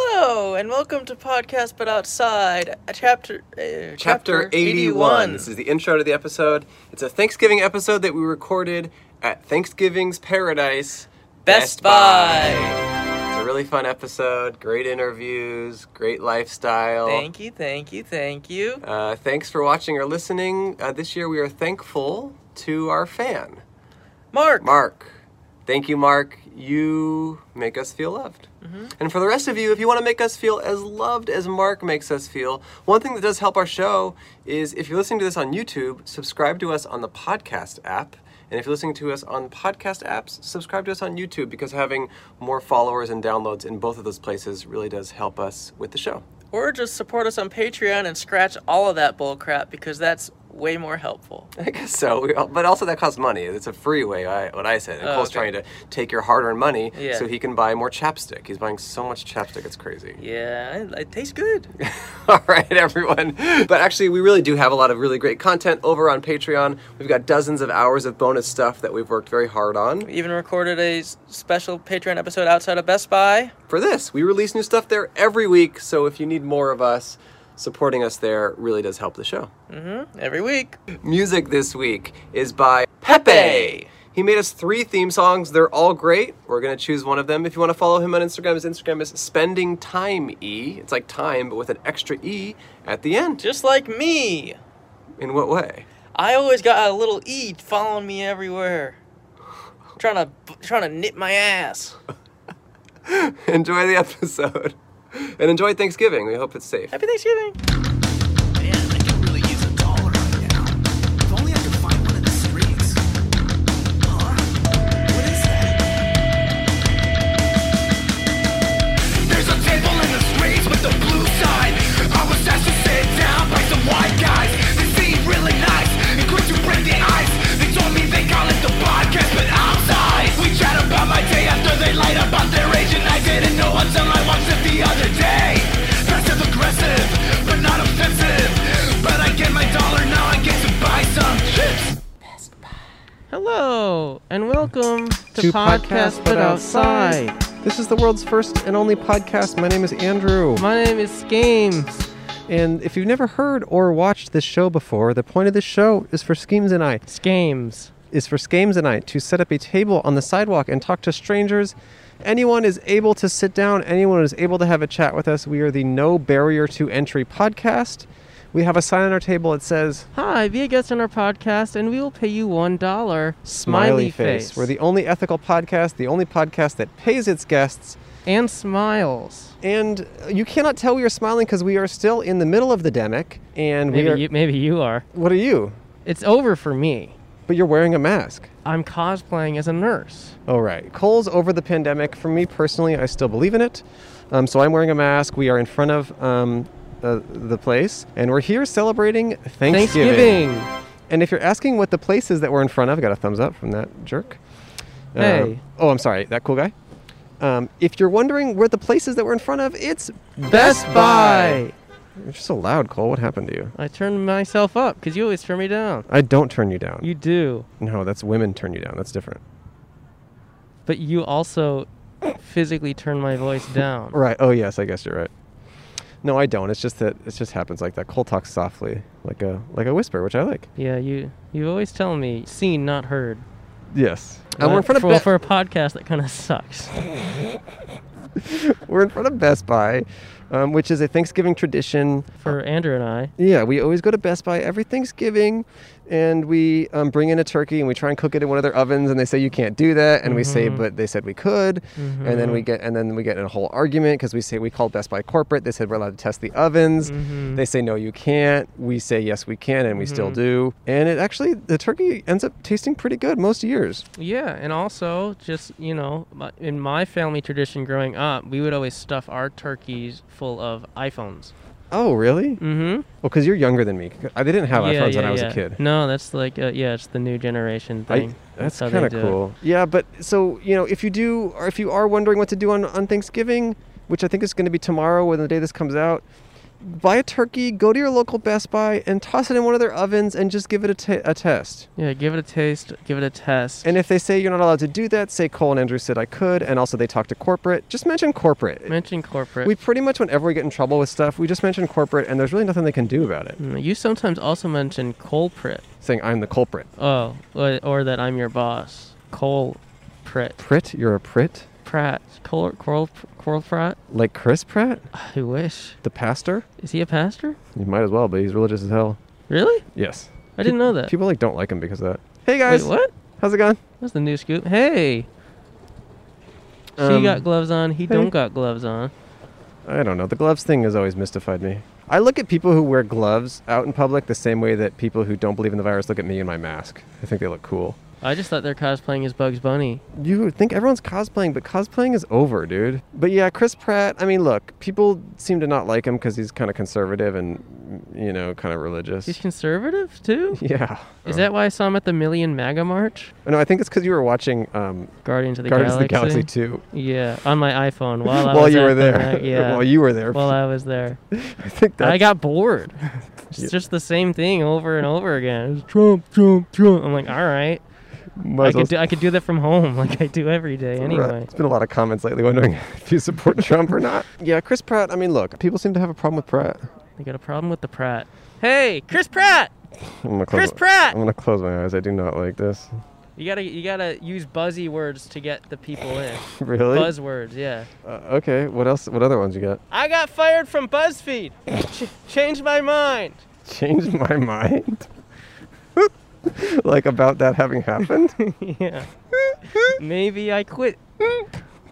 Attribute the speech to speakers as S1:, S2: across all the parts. S1: and welcome to Podcast But Outside, a chapter, uh,
S2: Chapter 81. This is the intro to the episode. It's a Thanksgiving episode that we recorded at Thanksgiving's Paradise,
S1: Best Buy.
S2: It's a really fun episode. Great interviews, great lifestyle.
S1: Thank you, thank you, thank you.
S2: Uh, thanks for watching or listening. Uh, this year we are thankful to our fan,
S1: Mark.
S2: Mark. Thank you, Mark. You make us feel loved. And for the rest of you, if you want to make us feel as loved as Mark makes us feel, one thing that does help our show is if you're listening to this on YouTube, subscribe to us on the podcast app. And if you're listening to us on podcast apps, subscribe to us on YouTube because having more followers and downloads in both of those places really does help us with the show.
S1: Or just support us on Patreon and scratch all of that bull crap because that's way more helpful.
S2: I guess so. We, but also that costs money. It's a free way. I, what I said. And
S1: Oh,
S2: Cole's
S1: okay.
S2: trying to take your hard-earned money
S1: Yeah.
S2: so he can buy more chapstick. He's buying so much chapstick. It's crazy.
S1: Yeah, it, it tastes good.
S2: All right, everyone. But actually, we really do have a lot of really great content over on Patreon. We've got dozens of hours of bonus stuff that we've worked very hard on.
S1: We even recorded a s- special Patreon episode outside of Best Buy.
S2: For this, we release new stuff there every week. So if you need more of us, supporting us there really does help the show.
S1: Every week.
S2: Music this week is by Pepe.
S1: Pepe.
S2: He made us three theme songs. They're all great. We're going to choose one of them. If you want to follow him on Instagram, his Instagram is spending time e. It's like time, but with an extra e at the end.
S1: Just like me.
S2: In what way?
S1: I always got a little E following me everywhere. Trying to trying to nip my ass.
S2: enjoy the episode and enjoy Thanksgiving. We hope it's safe.
S1: Happy Thanksgiving.
S3: Man, I could really use a dollar right now. If only I could find one in the streets. Huh? What is that?
S4: There's a table in the streets with the blue sign. I was asked to sit down by some white guys. They seemed really nice and quick to break the ice. They told me they call it the podcast, but I'm sorry. We chat about my day after they lied about their age, and I didn't know until I watched it the other day. Passive aggressive, but not offensive. But I get my dollar now. I get to buy some chips.
S1: Hello and welcome to,
S2: Podcast But Outside. This is the world's first and only podcast. My name is Andrew.
S1: My name is Games.
S2: And if you've never heard or watched this show before, the point of this show is for Schemes and I,
S1: Skames.
S2: is for Schemes and I to set up a table on the sidewalk and talk to strangers. Anyone is able to sit down, anyone is able to have a chat with us. We are the No Barrier to Entry podcast. We have a sign on our table that says
S5: Hi, be a guest on our podcast and we will pay you one dollar.
S2: Smiley face. We're the only ethical podcast, the only podcast that pays its guests.
S5: and smiles.
S2: And you cannot tell we are smiling because we are still in the middle of the demic. And we
S5: Maybe
S2: are.
S5: you maybe you are.
S2: What are you?
S5: It's over for me.
S2: But you're wearing a mask.
S5: I'm cosplaying as a nurse.
S2: All right. Cole's over the pandemic. For me personally, I still believe in it. Um, so I'm wearing a mask. We are in front of um, uh, the place. And we're here celebrating Thanksgiving.
S5: Thanksgiving.
S2: And if you're asking what the place is that we're in front of, I got a thumbs up from that jerk. Um,
S5: Hey.
S2: oh, I'm sorry, that cool guy. Um, if you're wondering where the place is that we're in front of, it's
S5: Best Buy.
S2: You're so loud, Cole. What happened to you?
S5: I turned myself up because you always turn me down.
S2: I don't turn you down.
S5: You do,
S2: no, that's women turn you down. That's different.
S5: but you also physically turn my voice down.
S2: Right. Oh, yes. I guess you're right. No, I don't. It's just that it just happens like that. Cole talks softly, like a like a whisper, which I like.
S5: Yeah, you you always tell me seen not heard.
S2: Yes. And we're in
S5: But
S2: front of
S5: for,
S2: Be-
S5: for a podcast that kind of sucks.
S2: we're in front of Best Buy, um, which is a Thanksgiving tradition.
S5: For Andrew and I,
S2: Yeah, we always go to Best Buy every Thanksgiving, and we um, bring in a turkey and we try and cook it in one of their ovens, and they say you can't do that, and we
S5: Mm-hmm.
S2: say but they said we could, and then we get and then we get in a whole argument because we say we called Best Buy corporate, they said we're allowed to test the ovens,
S5: Mm-hmm.
S2: they say no you can't, we say yes we can, and we still do, and it actually the turkey ends up tasting pretty good most years.
S5: Yeah, and also just you know, my- in my family tradition growing up, we would always stuff our turkeys full of iPhones.
S2: Oh really?
S5: Mm-hmm.
S2: Well, because you're younger than me, I they didn't have
S5: yeah,
S2: Oh, iPhones
S5: yeah,
S2: when I was
S5: yeah.
S2: a kid.
S5: No, that's like uh, yeah, it's the new generation
S2: I-
S5: thing.
S2: that's
S5: how they
S2: kind of
S5: do it.
S2: cool. Yeah, but so you know, if you do, or if you are wondering what to do on on Thanksgiving, which I think is going to be tomorrow when the day this comes out, buy a turkey, go to your local Best Buy, and toss it in one of their ovens and just give it a ta- a test.
S5: Yeah, give it a taste, give it a test.
S2: And if they say you're not allowed to do that, say Cole and Andrew said I could, and also they talk to corporate. Just mention corporate.
S5: mention corporate.
S2: We pretty much, whenever we get in trouble with stuff, we just mention corporate, and there's really nothing they can do about it.
S5: Mm, you sometimes also mention culprit.
S2: Saying I'm the culprit.
S5: Oh, or, or that I'm your boss. Cole Pritt.
S2: Prit, you're a prit?
S5: Pratt. Cole, Coral, Coral Pratt?
S2: Like Chris Pratt,
S5: I wish.
S2: the pastor?
S5: Is he a pastor?
S2: You might as well, but he's religious as hell.
S5: Really?
S2: Yes.
S5: I didn't know that.
S2: People like don't like him because of that. Hey
S5: Wait,
S2: guys,
S5: what?
S2: How's it going?
S5: That's the new scoop. Hey! She
S2: Um,
S5: got gloves on, he don't
S2: hey.
S5: got gloves on.
S2: I don't know. The gloves thing has always mystified me. I look at people who wear gloves out in public the same way that people who don't believe in the virus look at me in my mask. I think they look cool.
S5: I just thought they're cosplaying as Bugs Bunny.
S2: You would think everyone's cosplaying, but cosplaying is over, dude. But yeah, Chris Pratt, I mean, look, people seem to not like him because he's kind of conservative and, mm, you know, kind of religious.
S5: He's conservative, too?
S2: yeah.
S5: Is that why I saw him at the Million MAGA March?
S2: No, I think it's because you were watching um,
S5: Guardians of the
S2: Guardians
S5: Galaxy.
S2: of the Galaxy 2
S5: Yeah, on my iPhone while I
S2: while
S5: was
S2: you
S5: at
S2: were
S5: the
S2: there.
S5: mag- yeah,
S2: while you were there.
S5: while I was there.
S2: I think that's,
S5: I got bored. It's
S2: Yeah.
S5: just the same thing over and over again. It's Trump, Trump, Trump. I'm like, all right,
S2: might
S5: I
S2: as well
S5: could do, I could do that from home, like I do every day
S2: Right.
S5: anyway.
S2: It's been a lot of comments lately wondering if you support Trump or not. Yeah, Chris Pratt. I mean, look, people seem to have a problem with Pratt.
S5: I got a problem with the Pratt. Hey, Chris Pratt,
S2: I'm gonna close
S5: Chris
S2: my-
S5: Pratt!
S2: I'm gonna close my eyes. I do not like this.
S5: you gotta you gotta use buzzy words to get the people in.
S2: Really?
S5: Buzzwords, yeah.
S2: Uh, okay. What else? What other ones you got?
S5: I got fired from BuzzFeed. Ch- changed my mind.
S2: Change my mind. like about that having happened.
S5: yeah. Maybe I quit.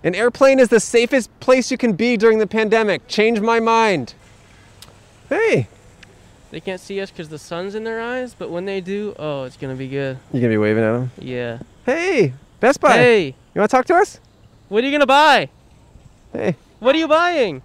S2: An airplane is the safest place you can be during the pandemic. Change my mind. Hey,
S5: They can't see us because the sun's in their eyes, but when they do, oh, it's gonna be good.
S2: you gonna be waving at him?
S5: Yeah.
S2: Hey, Best Buy.
S5: Hey,
S2: you wanna talk to us?
S5: what are you gonna buy?
S2: Hey.
S5: What are you buying?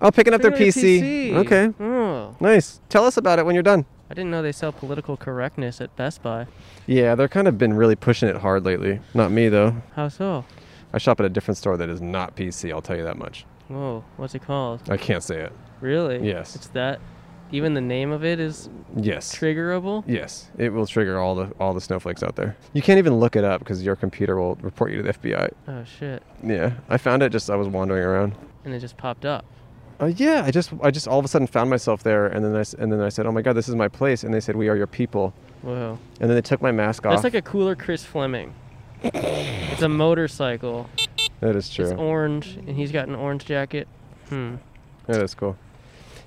S2: Oh, picking up their
S5: Bring on your
S2: PC.
S5: PC.
S2: Okay.
S5: Oh,
S2: Nice. Tell us about it when you're done.
S5: I didn't know they sell political correctness at Best Buy.
S2: Yeah, they're kind of been really pushing it hard lately. Not me though.
S5: How so?
S2: I shop at a different store that is not PC. I'll tell you that much.
S5: Whoa, what's it called?
S2: I can't say it.
S5: Really?
S2: Yes.
S5: It's that. Even the name of it is
S2: Yes.
S5: triggerable.
S2: yes, it will trigger all the all the snowflakes out there. You can't even look it up because your computer will report you to the FBI.
S5: Oh shit!
S2: Yeah, I found it just I was wandering around.
S5: And it just popped up.
S2: Uh, yeah, I just I just all of a sudden found myself there, and then I s- and then I said, "Oh my God, this is my place," and they said, "We are your people,"
S5: Whoa.
S2: and then they took my mask off.
S5: That's like a cooler Chris Fleming. it's a motorcycle.
S2: that is true.
S5: It's orange, and he's got an orange jacket. Hmm.
S2: Yeah, that's cool.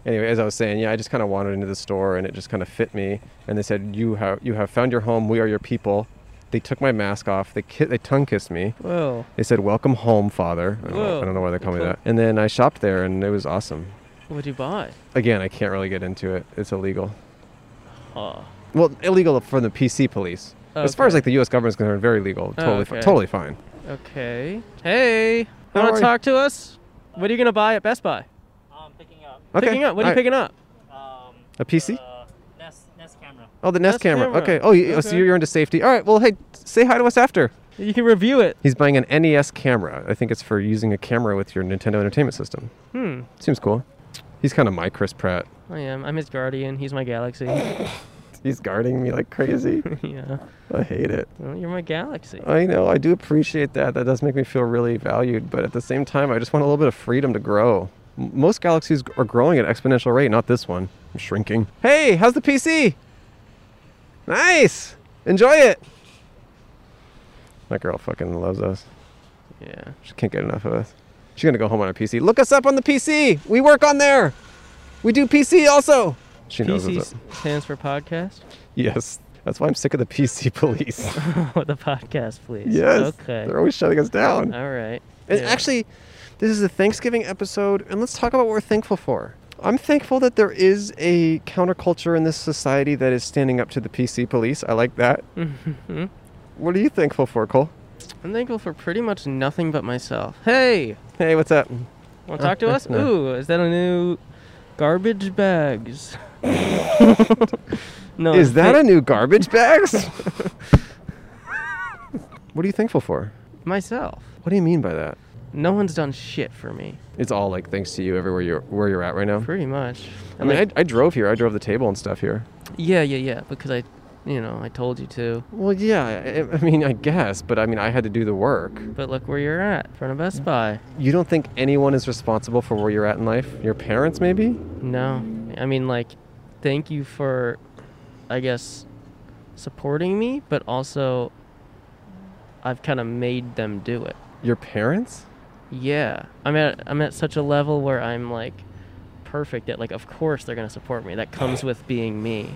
S2: Anyway, as I was saying, yeah, I just kind of wandered into the store and it just kind of fit me. And they said, "You have you have found your home. We are your people." They took my mask off. They ki- they tongue kissed me.
S5: Whoa.
S2: They said, "Welcome home, father." I don't, know, I
S5: Whoa.
S2: don't know why they call me
S5: Cool.
S2: that. And then I shopped there, and it was awesome.
S5: What'd you buy?
S2: Again, I can't really get into it. It's illegal.
S5: Oh.
S2: Well, illegal from the PC police. As far as
S5: Okay. Oh,
S2: like the U.S. government's concerned, very legal. Totally, fi-
S5: okay.
S2: totally fine.
S5: Okay. Hey,
S2: How
S5: want
S2: are
S5: to
S2: you?
S5: talk to us? What are you gonna buy at Best Buy?
S6: I'm picking up
S2: Okay.
S5: Picking up. What are you
S2: alright.
S5: picking up?
S6: um,
S2: A PC?
S6: the Nest Nest camera.
S2: oh, the Nest,
S5: Nest
S2: camera.
S5: camera.
S2: Okay. Oh, you, oh, so
S5: Okay.
S2: you're into safety. All right. Well, hey, say hi to us after.
S5: You can review it.
S2: He's buying an NES camera. I think it's for using a camera with your Nintendo Entertainment System.
S5: Hmm.
S2: Seems cool. He's kind of my Chris Pratt.
S5: I am. I'm his guardian. He's my galaxy.
S2: He's guarding me like crazy.
S5: yeah.
S2: I hate it.
S5: Well, you're my galaxy.
S2: I know. I do appreciate that. That does make me feel really valued. But at the same time, I just want a little bit of freedom to grow. M- Most galaxies are growing at exponential rate, not this one. I'm shrinking. Hey, how's the PC? Nice. Enjoy it. That girl fucking loves us.
S5: Yeah.
S2: She can't get enough of us. She's gonna go home on her PC. Look us up on the PC. We work on there. We do PC also. She knows.
S5: PC
S2: it's
S5: s- stands for podcast.
S2: yes, that's why I'm sick of the PC police.
S5: Oh, the podcast, please.
S2: yes,
S5: Okay.
S2: they're always shutting us down.
S5: All right.
S2: and
S5: Yeah.
S2: actually, this is a Thanksgiving episode, and let's talk about what we're thankful for. I'm thankful that there is a counterculture in this society that is standing up to the PC police. I like that.
S5: Mm-hmm.
S2: What are you thankful for, Cole?
S5: I'm thankful for pretty much nothing but myself. Hey,
S2: Hey, what's up?
S5: want to talk to us?
S2: no.
S5: Ooh, is that a new garbage bags? no.
S2: Is that a
S5: a
S2: new garbage bags? what are you thankful for?
S5: myself?
S2: What do you mean by that?
S5: No one's done shit for me.
S2: It's all like thanks to you everywhere you're where you're at right now.
S5: Pretty much.
S2: I mean, I, I drove here. I drove the table and stuff here.
S5: yeah, yeah, yeah. Because I, you know, I told you to.
S2: Well, yeah. I, I mean, I guess, but I mean, I had to do the work.
S5: But look where you're at, in front of Best Buy.
S2: You don't think anyone is responsible for where you're at in life? Your parents, maybe?
S5: No, I mean like, thank you for, I guess, supporting me, but also, I've kind of made them do it.
S2: Your parents?
S5: Yeah, I'm at I'm at such a level where I'm like, perfect at like, of course they're gonna support me. That comes with being me.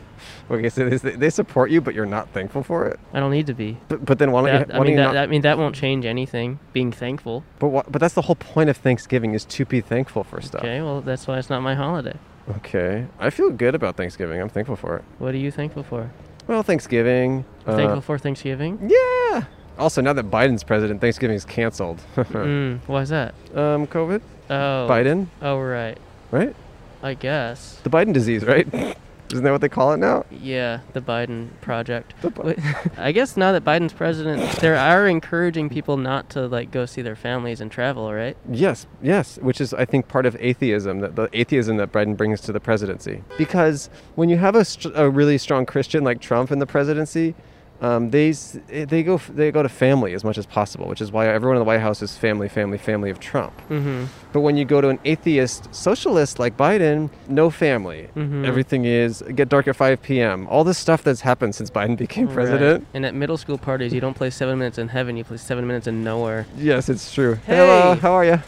S2: Okay, so they, they support you, but you're not thankful for it.
S5: I don't need to be.
S2: But, but then why don't
S5: That,
S2: you? Why
S5: I mean
S2: don't you
S5: that,
S2: not,
S5: that I mean that won't change anything. Being thankful.
S2: but why, but that's the whole point of Thanksgiving is to be thankful for stuff.
S5: Okay, well that's why it's not my holiday.
S2: Okay. I feel good about Thanksgiving. I'm thankful for it.
S5: What are you thankful for?
S2: Well, Thanksgiving. uh,
S5: thankful for Thanksgiving.
S2: Yeah. Also, now that Biden's president, Thanksgiving is canceled.
S5: Mm, why is that?
S2: Um, COVID.
S5: Oh,
S2: Biden,
S5: Oh right,
S2: right?
S5: I guess.
S2: The Biden disease, right? Isn't that what they call it now?
S5: Yeah, the Biden project.
S2: Bi-
S5: Wait, I guess now that Biden's president, they are encouraging people not to like go see their families and travel, right?
S2: Yes, yes, which is I think part of atheism that the atheism that Biden brings to the presidency. Because when you have a, str- a really strong Christian like Trump in the presidency, um, they s- they go f- they go to family as much as possible, which is why everyone in the White House is family, family, family of Trump.
S5: Mm-hmm.
S2: But when you go to an atheist socialist like Biden, no family.
S5: Mhm.
S2: Everything is get dark at 5 p.m. All this stuff that's happened since Biden became president.
S5: And at middle school parties, you don't play seven minutes in heaven; you play seven minutes in nowhere.
S2: Yes, it's true. Hello,
S5: Hey.
S2: how are you?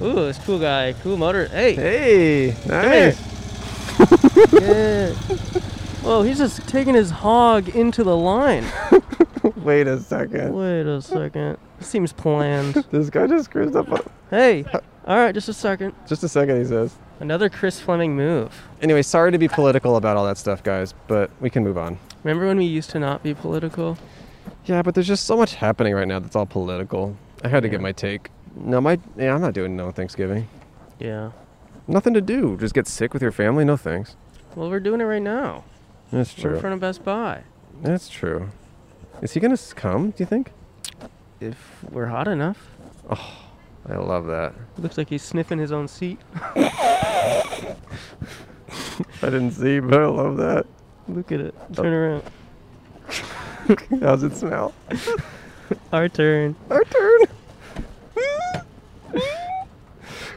S5: Ooh, this cool guy, cool motor. Hey,
S2: Hey,
S5: here.
S2: nice.
S5: yeah. Whoa, he's just taking his hog into the line.
S2: Wait a second.
S5: Wait a second. This seems planned.
S2: This guy just screws up.
S5: hey, all right, just a second.
S2: Just a second, he says.
S5: Another Chris Fleming move.
S2: Anyway, sorry to be political about all that stuff, guys, but we can move on.
S5: Remember when we used to not be political?
S2: Yeah, but there's just so much happening right now that's all political. I had to get my take. No, my yeah, I'm not doing no Thanksgiving.
S5: Yeah.
S2: Nothing to do. Just get sick with your family. No thanks.
S5: Well, we're doing it right now.
S2: That's
S5: We're in
S2: true.
S5: front of Best Buy.
S2: That's true. Is he gonna s- come? Do you think?
S5: If we're hot enough.
S2: I love that.
S5: Looks like he's sniffing his own seat.
S2: I didn't see, but I love that.
S5: Look at it.
S2: Oh.
S5: Turn around.
S2: How's it smell?
S5: Our turn.
S2: Our turn.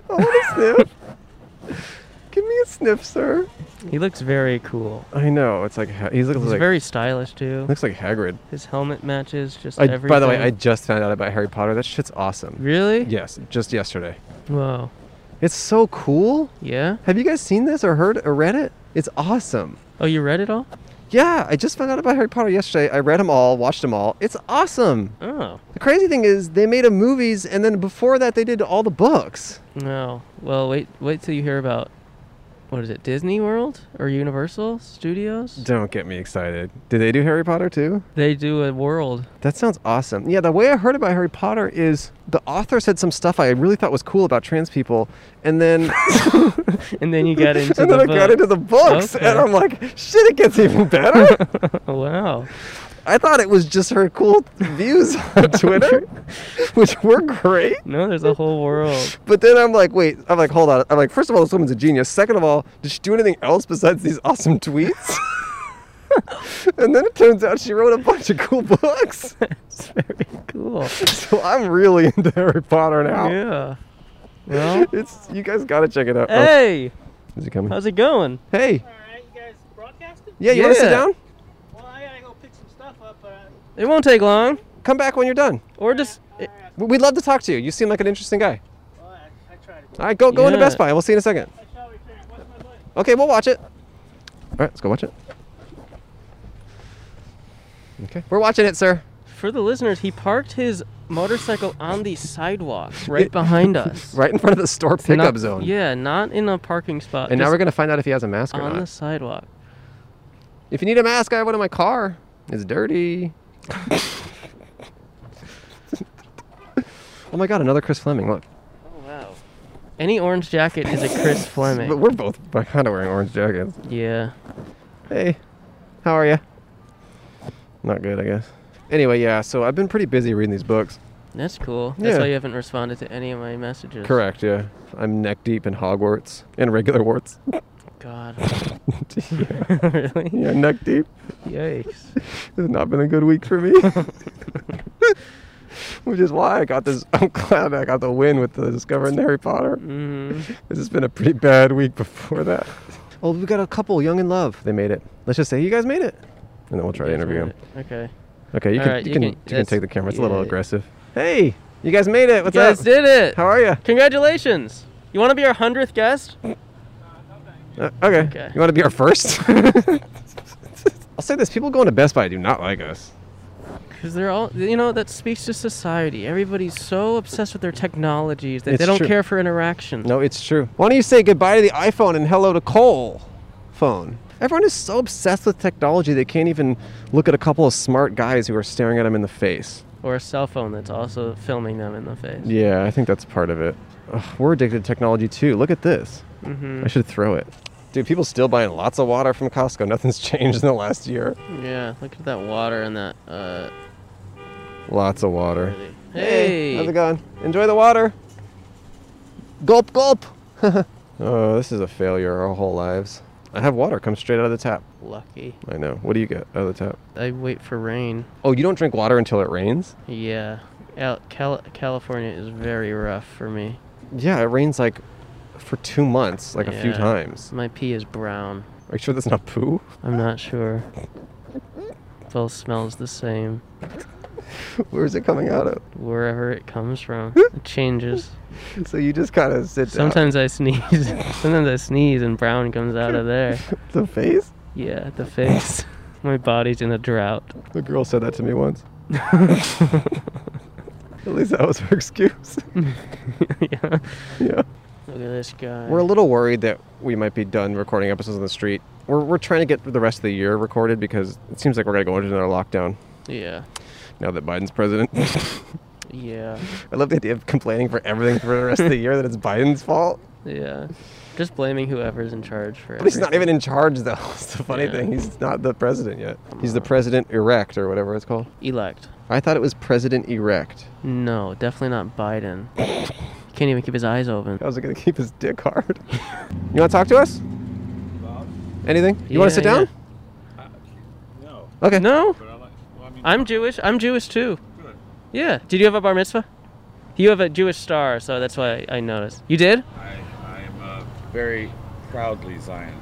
S2: I want to sniff. Give me a sniff, sir.
S5: He looks very cool.
S2: I know. It's like ha- he looks
S5: He's
S2: like
S5: very stylish too.
S2: looks like Hagrid.
S5: His helmet matches just
S2: I,
S5: everything.
S2: by the way, I just found out about Harry Potter. That shit's awesome.
S5: really?
S2: Yes, just yesterday.
S5: Whoa.
S2: It's so cool.
S5: Yeah.
S2: Have you guys seen this or heard or read it? It's awesome.
S5: Oh, you read it all?
S2: Yeah, I just found out about Harry Potter yesterday. I read them all, watched them all. It's awesome.
S5: Oh.
S2: The crazy thing is, they made a movies, and then before that, they did all the books.
S5: No. Well, wait. Wait till you hear about. What is it? Disney World or Universal Studios?
S2: Don't get me excited. Did they do Harry Potter too?
S5: they do a world.
S2: That sounds awesome. Yeah, the way I heard about Harry Potter is the author said some stuff I really thought was cool about trans people, and then
S5: And then you got into
S2: and
S5: the
S2: then I got
S5: book.
S2: into the books,
S5: Okay.
S2: and I'm like, shit, it gets even better.
S5: Oh, wow.
S2: I thought it was just her cool views on Twitter, which were great.
S5: No, there's a whole world.
S2: But then I'm like, wait, I'm like, hold on. I'm like, first of all, this woman's a genius. Second of all, did she do anything else besides these awesome tweets? and then it turns out she wrote a bunch of cool books.
S5: it's very cool.
S2: so I'm really into Harry Potter now.
S5: Yeah. Well.
S2: It's you guys gotta check it out. Oh,
S5: Hey,
S2: is he coming?
S5: how's it going?
S2: Hey,
S7: Alright, you guys broadcasting?
S2: yeah, you wanna sit
S5: Yeah.
S2: down?
S7: Well, I gotta go pick some stuff up, but
S5: It won't take long.
S2: Come back when you're done.
S5: Or just i-
S2: We- We'd love to talk to you. You seem like an interesting guy.
S7: I, I tried it.
S2: All right, go go into
S5: Yeah.
S2: Best Buy. We'll see you in a second.
S7: I shall return. What's my money?
S2: Okay, we'll watch it. All right, let's go watch it. Okay, we're watching it, sir.
S5: for the listeners, he parked his motorcycle on the sidewalk right behind us.
S2: Right in front of the store pickup
S5: Not-
S2: zone.
S5: Yeah, not in a parking spot.
S2: And now
S5: just
S2: we're gonna find out if he has a mask or
S5: on the
S2: not.
S5: sidewalk.
S2: If you need a mask, I have one in my car. It's dirty. oh my god, another Chris Fleming. Look,
S5: Oh wow. Any orange jacket is a Chris
S2: but
S5: Fleming.
S2: we're both kind of wearing orange jackets.
S5: Yeah.
S2: Hey, how are you? Not good, I guess. Anyway, yeah, so I've been pretty busy reading these books.
S5: That's cool. That's
S2: Yeah.
S5: why you haven't responded to any of my messages.
S2: Correct, yeah. I'm neck deep in Hogwarts and regular warts.
S5: God.
S2: yeah,
S5: really?
S2: yeah, neck deep.
S5: Yikes.
S2: It's not been a good week for me. Which is why I got this. I'm glad I got the win with the discovering Harry Potter.
S5: hmm
S2: This has been a pretty bad week before that. Well, we got a couple, Young in Love. They made it. Let's just say you guys made it, and then we'll try to interview them.
S5: Okay.
S2: Okay, you
S5: All
S2: can,
S5: right,
S2: you,
S5: you
S2: can,
S5: can-
S2: you can
S5: that's-
S2: take the camera. It's a little
S5: yeah.
S2: aggressive. Hey, you guys made it. What's
S5: you guys
S2: up?
S5: did it.
S2: How are you?
S5: Congratulations. You want to be our 100th guest?
S2: Uh, okay.
S5: Okay.
S2: You want to be our first? I'll say this: people going to Best Buy do not like us.
S5: Because they're all, you know, that speaks to society. Everybody's so obsessed with their technologies that
S2: It's
S5: they don't
S2: true.
S5: care for interaction.
S2: No, it's true. Why don't you say goodbye to the iPhone and hello to coal phone? Everyone is so obsessed with technology they can't even look at a couple of smart guys who are staring at them in the face.
S5: Or a cell phone that's also filming them in the face.
S2: Yeah, I think that's part of it. Ugh, we're addicted to technology too. Look at this. I should throw it. Dude, people still buying lots of water from Costco. Nothing's changed in the last year.
S5: Yeah, look at that water and that. Uh,
S2: Lots of water.
S5: hey,
S2: how's it going? Enjoy the water. Gulp, gulp. oh, this is a failure our whole lives. I have water come straight out of the tap.
S5: lucky.
S2: I know. What do you get out of the tap?
S5: I wait for rain.
S2: Oh, you don't drink water until it rains?
S5: Yeah, Al- Cal- California is very rough for me.
S2: Yeah, it rains like for two months, like a few
S5: Yeah.
S2: times.
S5: My pee is brown.
S2: Are you sure that's not poo?
S5: I'm not sure. Both smells the same
S2: Where is it coming out of?
S5: wherever it comes from. It changes.
S2: So you just kind of sit down.
S5: Sometimes I sneeze. Sometimes I sneeze and brown comes out of there.
S2: the face?
S5: Yeah, the face. My body's in a drought.
S2: The girl said that to me once. At least that was her excuse.
S5: yeah.
S2: yeah.
S5: Look at this guy.
S2: We're a little worried that we might be done recording episodes on the street. We're, we're trying to get the rest of the year recorded because it seems like we're going to go into another lockdown
S5: yeah.
S2: now that Biden's president.
S5: Yeah.
S2: I love the idea of complaining for everything for the rest of the year that it's Biden's fault.
S5: Yeah. Just blaming whoever's in charge for it.
S2: But he's not even in charge, though. It's the funny
S5: Yeah.
S2: thing. He's not the president yet. He's the president erect or whatever it's called.
S5: elect.
S2: I thought it was president erect.
S5: No, definitely not Biden. He can't even keep his eyes open.
S2: How's it going to keep his dick hard? you want to talk to us? Anything? You want to
S5: Yeah,
S2: sit
S5: yeah.
S2: down?
S8: No,
S2: Okay.
S5: No,
S8: but I like. Well, I
S2: Uh,
S8: mean,
S5: I'm Jewish. I'm Jewish too.
S8: good.
S5: Yeah. Did you have a bar mitzvah? You have a Jewish star, so that's why I noticed. You did?
S8: I, I am uh, very proudly Zion.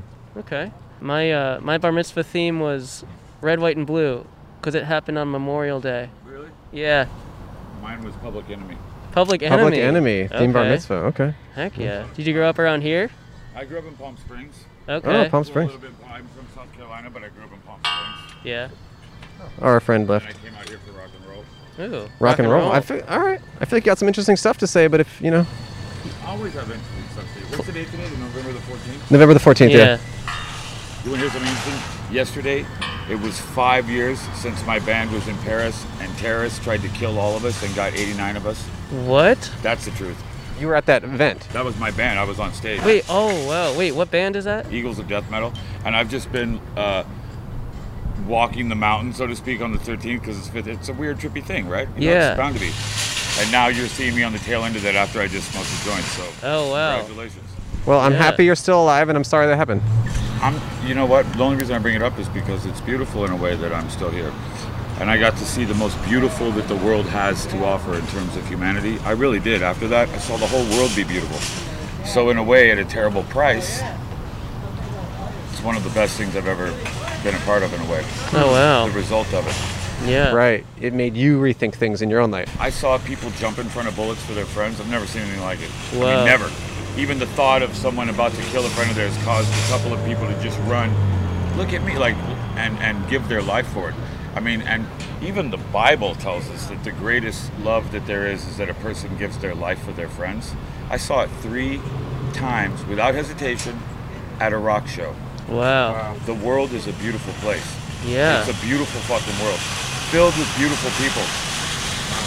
S2: Mm.
S5: Okay. My uh, my bar mitzvah theme was red, white, and blue, because it happened on Memorial Day.
S8: Really?
S5: Yeah.
S8: Mine was Public Enemy.
S5: Public enemy.
S2: Public enemy. Theme bar
S5: Okay.
S2: mitzvah. Okay.
S5: Heck yeah. Did you grow up around here?
S8: I grew up in Palm Springs.
S5: Okay.
S2: Oh, Palm
S8: Well, a
S2: Springs.
S8: little bit- I'm from South Carolina, but I grew up in Palm Springs.
S5: yeah.
S2: Our friend
S8: And I
S2: left.
S8: came out here for rock and roll.
S5: Ooh.
S2: Rock and roll. I feel, all right. I feel like you got some interesting stuff to say, but if you know,
S8: Always have interesting stuff to do. What's the date today? November the 14th?
S2: November the fourteenth.
S5: yeah.
S2: Yeah.
S8: You want to hear something interesting? Yesterday, it was five years since my band was in Paris, and terrorists tried to kill all of us and got 89 of us.
S5: What?
S8: That's the truth.
S2: You were at that event.
S8: That was my band. I was on stage.
S5: Wait. Oh wow. Wait. What band is that?
S8: Eagles of Death Metal, and I've just been uh, walking the mountain, so to speak, on the 13th because it's fifth. It's a weird, trippy thing, right? You know,
S5: Yeah.
S8: it's bound to be. And now you're seeing me on the tail end of that after I just smoked a joint. So
S5: Oh wow.
S8: congratulations.
S2: Well, I'm
S5: Yeah.
S2: happy you're still alive, and I'm sorry that happened.
S8: I'm. You know what? The only reason I bring it up is because it's beautiful in a way that I'm still here. And I got to see the most beautiful that the world has to offer in terms of humanity. I really did. After that, I saw the whole world be beautiful. So in a way, at a terrible price, it's one of the best things I've ever been a part of in a way.
S5: Oh
S8: the
S5: wow.
S8: result of it.
S5: Yeah.
S2: Right. It made you rethink things in your own life.
S8: I saw people jump in front of bullets for their friends. I've never seen anything like it. I
S5: Wow.
S8: mean, never. Even the thought of someone about to kill a friend of theirs caused a couple of people to just run. Look at me, like, and and give their life for it. I mean, and even the Bible tells us that the greatest love that there is is that a person gives their life for their friends. I saw it three times without hesitation at a rock show.
S5: Wow.
S8: The world is a beautiful place.
S5: Yeah.
S8: It's a beautiful fucking world, filled with beautiful people.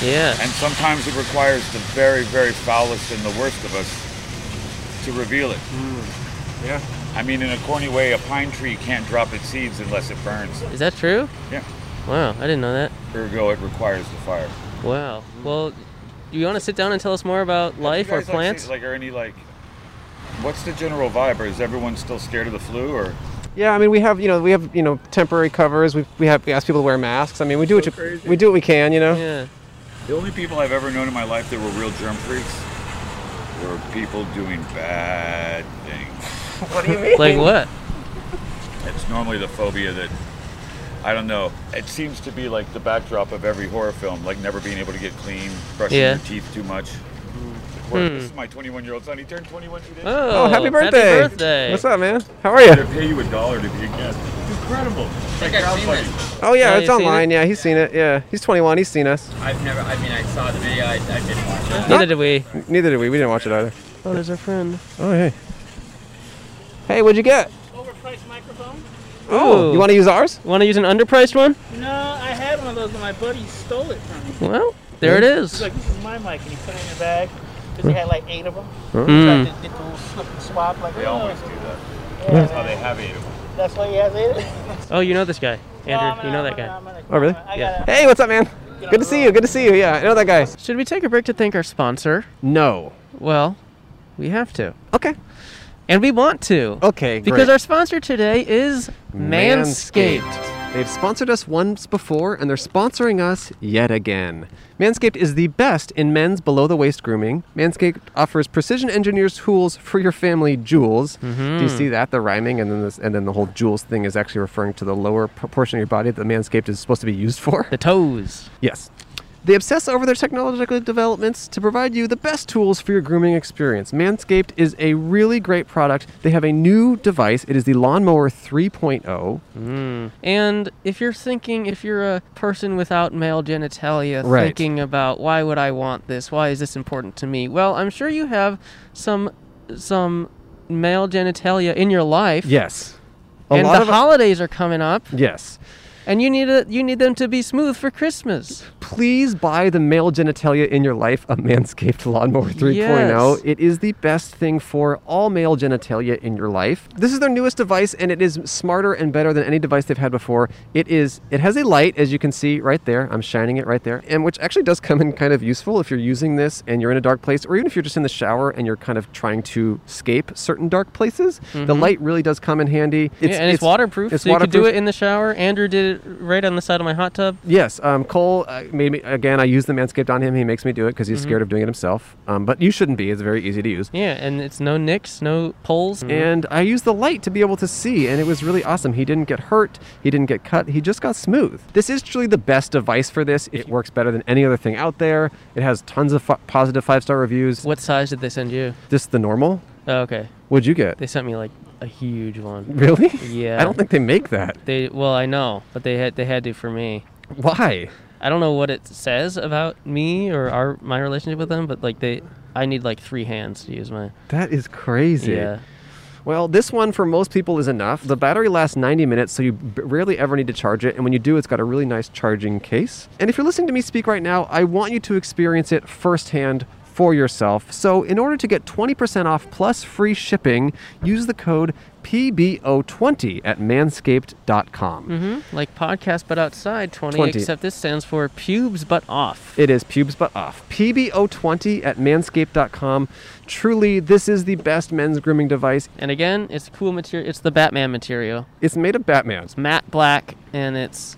S5: Yeah.
S8: And sometimes it requires the very, very foulest and the worst of us to reveal it.
S9: Hmm.
S2: yeah.
S8: I mean, in a corny way, a pine tree can't drop its seeds unless it burns.
S5: Is that true?
S8: Yeah.
S5: Wow. I didn't know that.
S8: Ergo, it requires the fire.
S5: Wow. Well, you want to sit down and tell us more about life
S8: You
S5: or
S8: guys, like,
S5: plants?
S8: say- Like, are any like, what's the general vibe? Or is everyone still scared of the flu? Or
S2: Yeah, I mean, we have you know we have you know temporary covers. We we have we ask people to wear masks. I mean, we do what you,
S8: crazy.
S2: we do what we can. You know.
S5: yeah.
S8: the only people I've ever known in my life that were real germ freaks were people doing bad things.
S9: What do you mean?
S5: Like what?
S8: It's normally the phobia that I don't know. It seems to be like the backdrop of every horror film, like never being able to get clean, brushing
S5: Yeah.
S8: your teeth too much. Or-
S5: Hmm.
S8: This is my 21-year-old son. He turned 21 today.
S5: Oh,
S2: Oh, happy birthday!
S5: Happy birthday.
S2: What's up, man? How are you?
S8: They pay you a dollar to be a guest. It's incredible. It's like crowdfunding.
S2: Oh yeah,
S5: Oh,
S2: it's
S5: you've seen it?
S2: online. Yeah, he's seen it. Yeah, he's 21. He's seen us.
S10: I've never. I mean, I saw the video. I, I didn't watch it.
S5: Neither did we.
S2: Neither did we. We didn't watch it either.
S5: Oh, there's our friend.
S2: Oh hey. Hey, what'd you get?
S7: Overpriced microphone?
S2: Oh,
S5: Ooh.
S2: you want to use ours?
S5: Want to use an underpriced one?
S7: No, I had one of those, but my buddy stole it from me.
S5: Well, there it
S7: He's
S5: is.
S7: like, "This is my mic," and he put it in a bag. Cause he had like eight of them.
S2: Hmm.
S5: Mm.
S7: Tried to get the little slip and swap, like,
S8: They
S7: "Oh,
S8: always do that.
S7: yeah,
S8: That's how
S7: man."
S8: they have eight of them.
S7: That's why he has eight. of them.
S5: Oh, you know this guy,
S7: No, I'm
S5: Andrew.
S7: gonna-
S5: you know
S7: I'm
S5: that
S7: gonna-
S5: guy.
S7: I'm gonna-
S2: Oh, really?
S7: I
S5: Yeah.
S7: gotta-
S2: Hey, what's up, man? Good to see you. Good to see you. Yeah, I know that guy.
S5: Should we take a break to thank our sponsor?
S2: No.
S5: Well, we have to,
S2: Okay.
S5: and we want to,
S2: Okay.
S5: because
S2: great.
S5: our sponsor today is Manscaped.
S2: They've sponsored us once before, and they're sponsoring us yet again. Manscaped is the best in men's below the waist grooming. Manscaped offers precision engineers tools for your family jewels. Do you see that? The rhyming, and then this, and then the whole jewels thing is actually referring to the lower p- portion of your body that the Manscaped is supposed to be used for.
S5: The toes.
S2: Yes. They obsess over their technological developments to provide you the best tools for your grooming experience. Manscaped is a really great product. They have a new device. It is the Lawnmower oh. 3.0.
S5: And if you're thinking, if you're a person without male genitalia,
S2: Right.
S5: thinking about why would I want this? Why is this important to me? Well, I'm sure you have some some male genitalia in your life.
S2: Yes. A
S5: and
S2: lot
S5: the
S2: of
S5: holidays are coming up,
S2: yes.
S5: and you need a, you need them to be smooth for Christmas.
S2: Please buy the male genitalia in your life a Manscaped Lawnmower 3.0.
S5: Yes.
S2: It is the best thing for all male genitalia in your life. This is their newest device and it is smarter and better than any device they've had before. It is it has a light as you can see right there. I'm shining it right there. And which actually does come in kind of useful if you're using this and you're in a dark place or even if you're just in the shower and you're kind of trying to escape certain dark places. The light really does come in handy. It's,
S5: Mm-hmm. yeah, and it's, waterproof, so you could do it in the shower. Andrew did it right on the side of my hot tub.
S2: Yes, um, Cole uh, made me again. I use the Manscaped on him. He makes me do it because
S5: Mm-hmm.
S2: he's scared of doing it himself. Um, but you shouldn't be. It's very easy to use.
S5: Yeah, and it's no nicks, no poles.
S2: And I used the light to be able to see, and it was really awesome. He didn't get hurt. He didn't get cut. He just got smooth. This is truly the best device for this. It works better than any other thing out there. It has tons of f- positive five star reviews.
S5: what size did they send you?
S2: This the normal?
S5: Oh, okay,
S2: What'd you get?
S5: they sent me like a huge one.
S2: Really?
S5: Yeah.
S2: I don't think they make that.
S5: They well, I know, but they had they had to for me.
S2: Why?
S5: I don't know what it says about me or our my relationship with them, but like they, I need like three hands to use my.
S2: That is crazy.
S5: Yeah.
S2: Well, this one for most people is enough. The battery lasts 90 minutes, so you b- rarely ever need to charge it. And when you do, it's got a really nice charging case. And if you're listening to me speak right now, I want you to experience it firsthand for yourself. So, in order to get 20% off plus free shipping, use the code PBO20 at manscaped.com.
S5: hmm Like podcast, but outside twenty,
S2: 20.
S5: Except this stands for pubes, but off.
S2: It is pubes but off. PBO20 at manscaped.com. Truly, this is the best men's grooming device.
S5: and again, it's cool material. It's the Batman material.
S2: It's made of Batman.
S5: matte black and it's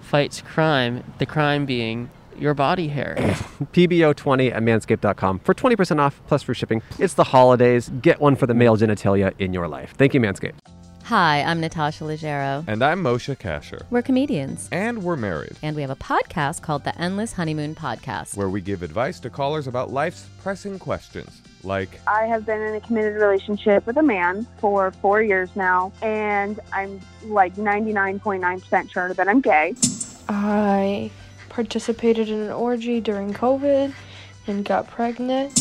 S5: fights crime the crime being your body hair
S2: PBO20 at manscaped.com for 20% off plus free shipping. It's the holidays. Get one for the male genitalia in your life. Thank you, Manscaped.
S11: Hi, I'm Natasha Leggero.
S12: And I'm Moshe Kasher.
S11: We're comedians,
S12: And we're married,
S11: and we have a podcast called The Endless Honeymoon Podcast.
S12: where we give advice to callers about life's pressing questions, like
S13: I have been in a committed relationship with a man for four years now, and I'm like 99.9% sure that I'm gay.
S11: I participated in an orgy during COVID and got pregnant.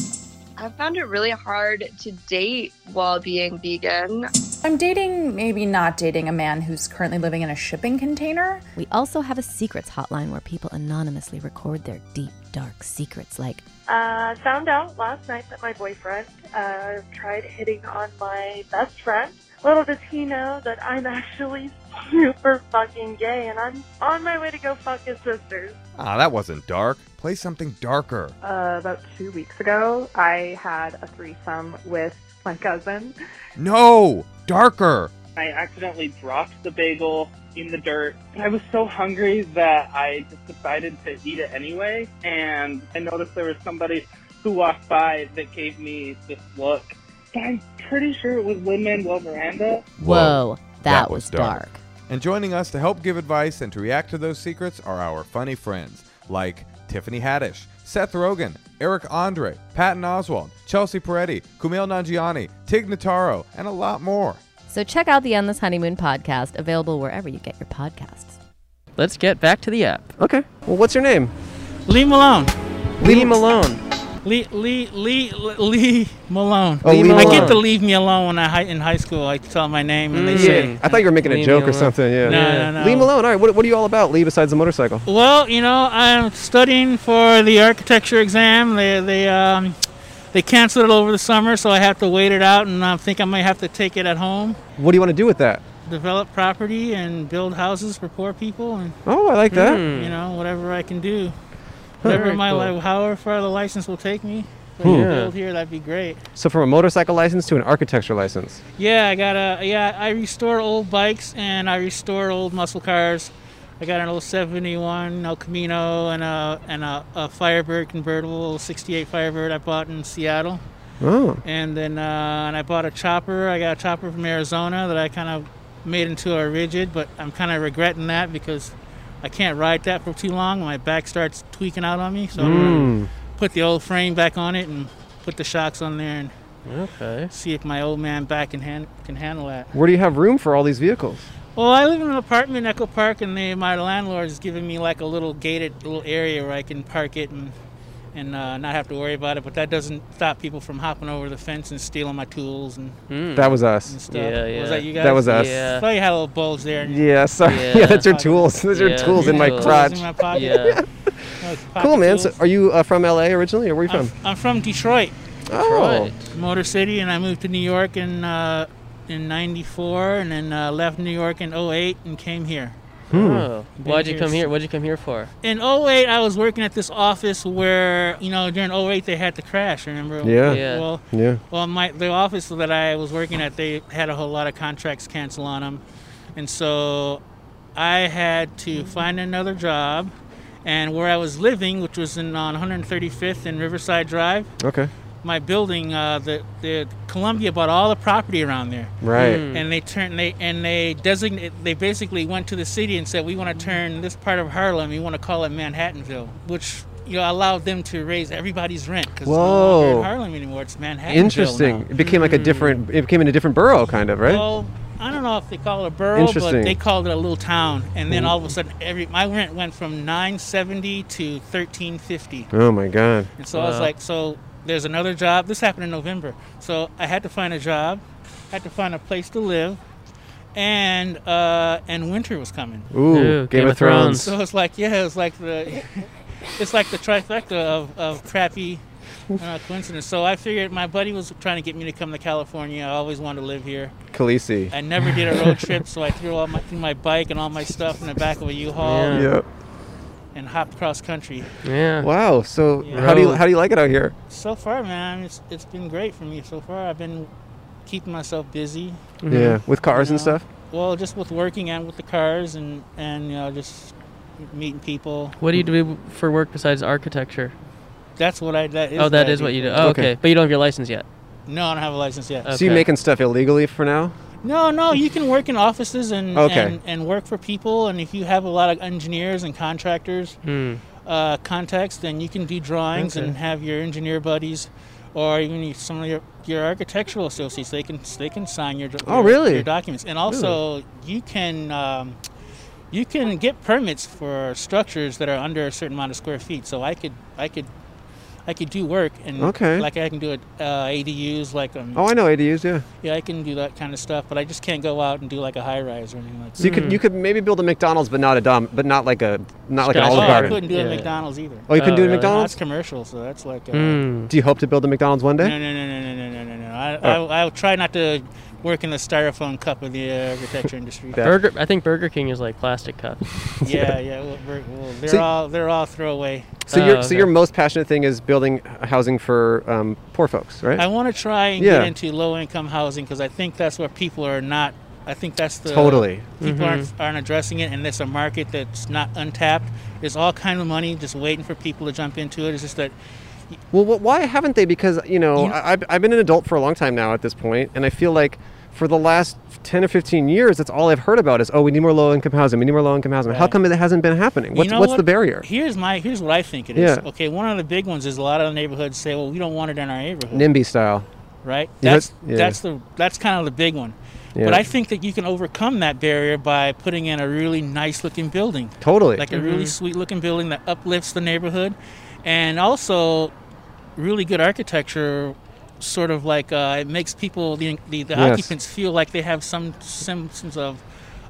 S13: I found it really hard to date while being vegan.
S11: I'm dating, maybe not dating, a man who's currently living in a shipping container. We also have a secrets hotline where people anonymously record their deep, dark secrets like
S13: Uh, found out last night that my boyfriend uh, tried hitting on my best friend. Little does he know that I'm actually
S14: super fucking gay, and I'm on my way to go fuck his sisters.
S12: Ah, that wasn't dark. Play something darker.
S14: Uh, about two weeks ago, I had a threesome with my cousin.
S12: No! Darker!
S7: I accidentally dropped the bagel in the dirt. I was so hungry that I just decided to eat it anyway. And I noticed there was somebody who walked by that gave me this look. I'm pretty sure it was Lin Manuel Miranda.
S11: Whoa, that, was, dark.
S12: And joining us to help give advice and to react to those secrets are our funny friends like Tiffany Haddish, Seth Rogen, Eric Andre, Patton Oswald, Chelsea Peretti, Kumail Nanjiani, Tig Notaro, and a lot more.
S11: So check out the Endless Honeymoon podcast, available wherever you get your podcasts.
S5: Let's get back to the app.
S2: Okay. Well, what's your name?
S15: Lee Malone.
S5: Lee Malone.
S15: Lee Lee Lee Lee Malone.
S2: Oh, Lee
S15: I
S2: Malone.
S15: get to leave me alone when I hi- in high school. I tell my name and they
S2: Mm.
S15: say.
S2: I thought you were making a
S15: Leave me
S2: joke or
S15: alone.
S2: something. Yeah.
S15: No, Yeah. no, no.
S2: Lee Malone. All right. What, what are you all about, Lee? Besides the motorcycle?
S15: Well, you know, I'm studying for the architecture exam. They they um, they canceled it over the summer, so I have to wait it out, and I think I might have to take it at home,
S2: What do you want to do with that?
S15: develop property, and build houses for poor people, and
S2: Oh, I like that.
S15: you know, whatever I can do,
S2: Huh.
S15: whatever
S2: Very
S15: my
S2: cool.
S15: li- however far the license will take me. if I
S2: Hmm.
S15: can
S2: Yeah.
S15: Build here, that'd be great.
S2: So from a motorcycle license to an architecture license.
S15: Yeah, I got a yeah. I restore old bikes and I restore old muscle cars. I got an old '71 El Camino and a and a, a Firebird convertible, '68 Firebird I bought in Seattle.
S2: Oh.
S15: And then uh, and I bought a chopper. I got a chopper from Arizona that I kind of made into a rigid, but I'm kind of regretting that because I can't ride that for too long. My back starts tweaking out on me, so I'm gonna
S2: Mm.
S15: put the old frame back on it and put the shocks on there and
S5: okay.
S15: see if my old man back can han- can handle that.
S2: Where do you have room for all these vehicles?
S15: Well, I live in an apartment in Echo Park, and they, my landlord is giving me like a little gated little area where I can park it and and uh, not have to worry about it. But that doesn't stop people from hopping over the fence and stealing my tools and.
S2: That was us.
S15: and stuff.
S2: Yeah, yeah.
S15: Was that you guys?
S2: That was us.
S15: I
S2: Yeah.
S15: thought you had a little bulge there.
S2: Yeah, sorry. Yeah, that's your tools. Those are your tools in my
S15: Tools
S2: crotch.
S15: in my pocket.
S2: Yeah.
S15: Those
S2: cool,
S15: pocket
S2: man.
S15: tools.
S2: So um, are you uh, from LA originally, or where are you
S15: I'm,
S2: from?
S15: I'm from Detroit.
S2: Oh.
S15: Motor City, and I moved to New York in uh, in '94, and then uh, left New York in 08 and came here.
S5: Hmm. Oh.
S15: Been
S5: Why'd you come
S15: s-
S5: here? What'd you come here for?
S15: In 08, I was working at this office where, you know, during 08 they had the crash, remember?
S2: Yeah. Yeah.
S15: Well,
S2: Oh. Yeah.
S15: well my, the office that I was working at, they had a whole lot of contracts cancel on them. And so I had to find another job. And where I was living, which was in on 135th and Riverside Drive,
S2: Okay.
S15: my building, uh, the the Columbia bought all the property around there.
S2: Right. Mm.
S15: And they turned they and they designate they basically went to the city and said we want to turn this part of Harlem we want to call it Manhattanville, which you know allowed them to raise everybody's rent because no longer
S2: Whoa.
S15: in Harlem anymore it's Manhattanville.
S2: Interesting.
S15: now. Hmm.
S2: It became like a different. It became in a different borough, kind of, right?
S15: Well, I don't know if they call it a borough, but
S2: Interesting.
S15: they called it a little town. And then
S2: Mm.
S15: all of a sudden, every my rent went from nine seventy to thirteen fifty.
S2: Oh my God.
S15: And so I was
S2: Wow.
S15: like, so there's another job. This happened in November. So I had to find a job, had to find a place to live, and uh, and winter was coming.
S2: Ooh, Ooh, Game Game of of Thrones. Thrones.
S15: So it's like, yeah, it's like the it's like the trifecta of, of crappy uh, coincidence. So I figured my buddy was trying to get me to come to California. I always wanted to live here.
S2: Khaleesi.
S15: I never did a road trip, so I threw all my threw my bike and all my stuff in the back of a U-Haul.
S2: Yeah. Yep.
S15: And hopped cross country.
S2: Wow. So
S15: Yeah.
S2: how do you
S15: Road.
S2: how do you like it out here?
S15: So far, man, it's it's been great for me so far. I've been keeping myself busy.
S2: Yeah, with cars
S15: You
S2: and
S15: know?
S2: stuff?
S15: Well, just with working and with the cars and and you know just meeting people.
S5: What do you do for work besides architecture?
S15: That's what I. That is
S5: oh, that
S15: I
S5: is what you do.
S15: for
S5: Oh,
S15: work.
S5: okay. But you don't have your license yet.
S15: No, I don't have a license yet.
S2: So you making stuff illegally for now?
S15: No, no, you can work in offices and,
S2: Okay.
S15: and, and work for people. And if you have a lot of engineers and contractors
S5: Hmm.
S15: uh, contacts, then you can do drawings
S5: Okay.
S15: and have your engineer buddies, or even you- some of your, your architectural associates. They can they can sign your
S2: Oh,
S15: your-
S2: really?
S15: your documents. And also you can um, you can get permits for structures that are under a certain amount of square feet. So I could I could. I could do work and
S2: Okay.
S15: like I can do it uh, ADUs like um,
S2: Oh, I know ADUs. Yeah.
S15: yeah, I can do that kind of stuff, but I just can't go out and do like a high rise or anything like that.
S2: So you could you could maybe build a McDonald's, but not a dom, but not like a not like an Olive
S15: oh,
S2: Garden.
S15: I couldn't do it at McDonald's either.
S2: Oh, you couldn't do it at McDonald's.
S15: That's
S2: Hmm.
S15: commercial, so that's like. Uh,
S5: Hmm.
S2: Do you hope to build a McDonald's one
S15: No,
S2: day?
S15: no, no, no, no, no, no, no, no. I,
S2: Oh.
S15: I, I'll try not to work in the styrofoam cup of the uh, architecture industry.
S5: Burger, I think Burger King is like plastic cup.
S15: Yeah, yeah. Well, we're, well, they're
S5: So-
S15: all they're all throwaway.
S2: So your so your most passionate thing is building housing for um, poor folks, right?
S15: I want to try and
S2: yeah.
S15: get into low income housing because I think that's where people are not. I think that's the
S2: Totally.
S15: people
S2: Mhm.
S15: aren't, aren't addressing it, and it's a market that's not untapped. There's all kind of money just waiting for people to jump into it. It's just that
S2: Well, wh- why haven't they? Because you know,
S15: You know-
S2: I, I've- I've been an adult for a long time now at this point, and I feel like for the last ten or fifteen years, that's all I've heard about is, oh, we need more low-income housing. We need more low-income housing. How
S15: Right.
S2: come it hasn't been happening?
S15: You
S2: What's,
S15: know
S2: what's
S15: what?
S2: the barrier?
S15: Here's my here's what I think it is.
S2: Yeah.
S15: Okay, one of the big ones is a lot of the neighborhoods say, "Well, we don't want it in our neighborhood."
S2: NIMBY style.
S15: right?
S2: You heard-
S15: That's
S2: yeah.
S15: that's the that's kind of the big one.
S2: Yeah.
S15: But I think that you can overcome that barrier by putting in a really nice looking building.
S2: Totally.
S15: Like a really
S2: Mhm.
S15: sweet looking building that uplifts the neighborhood and also really good architecture sort of like uh, it makes people the the, the
S2: Yes.
S15: occupants feel like they have some symptoms of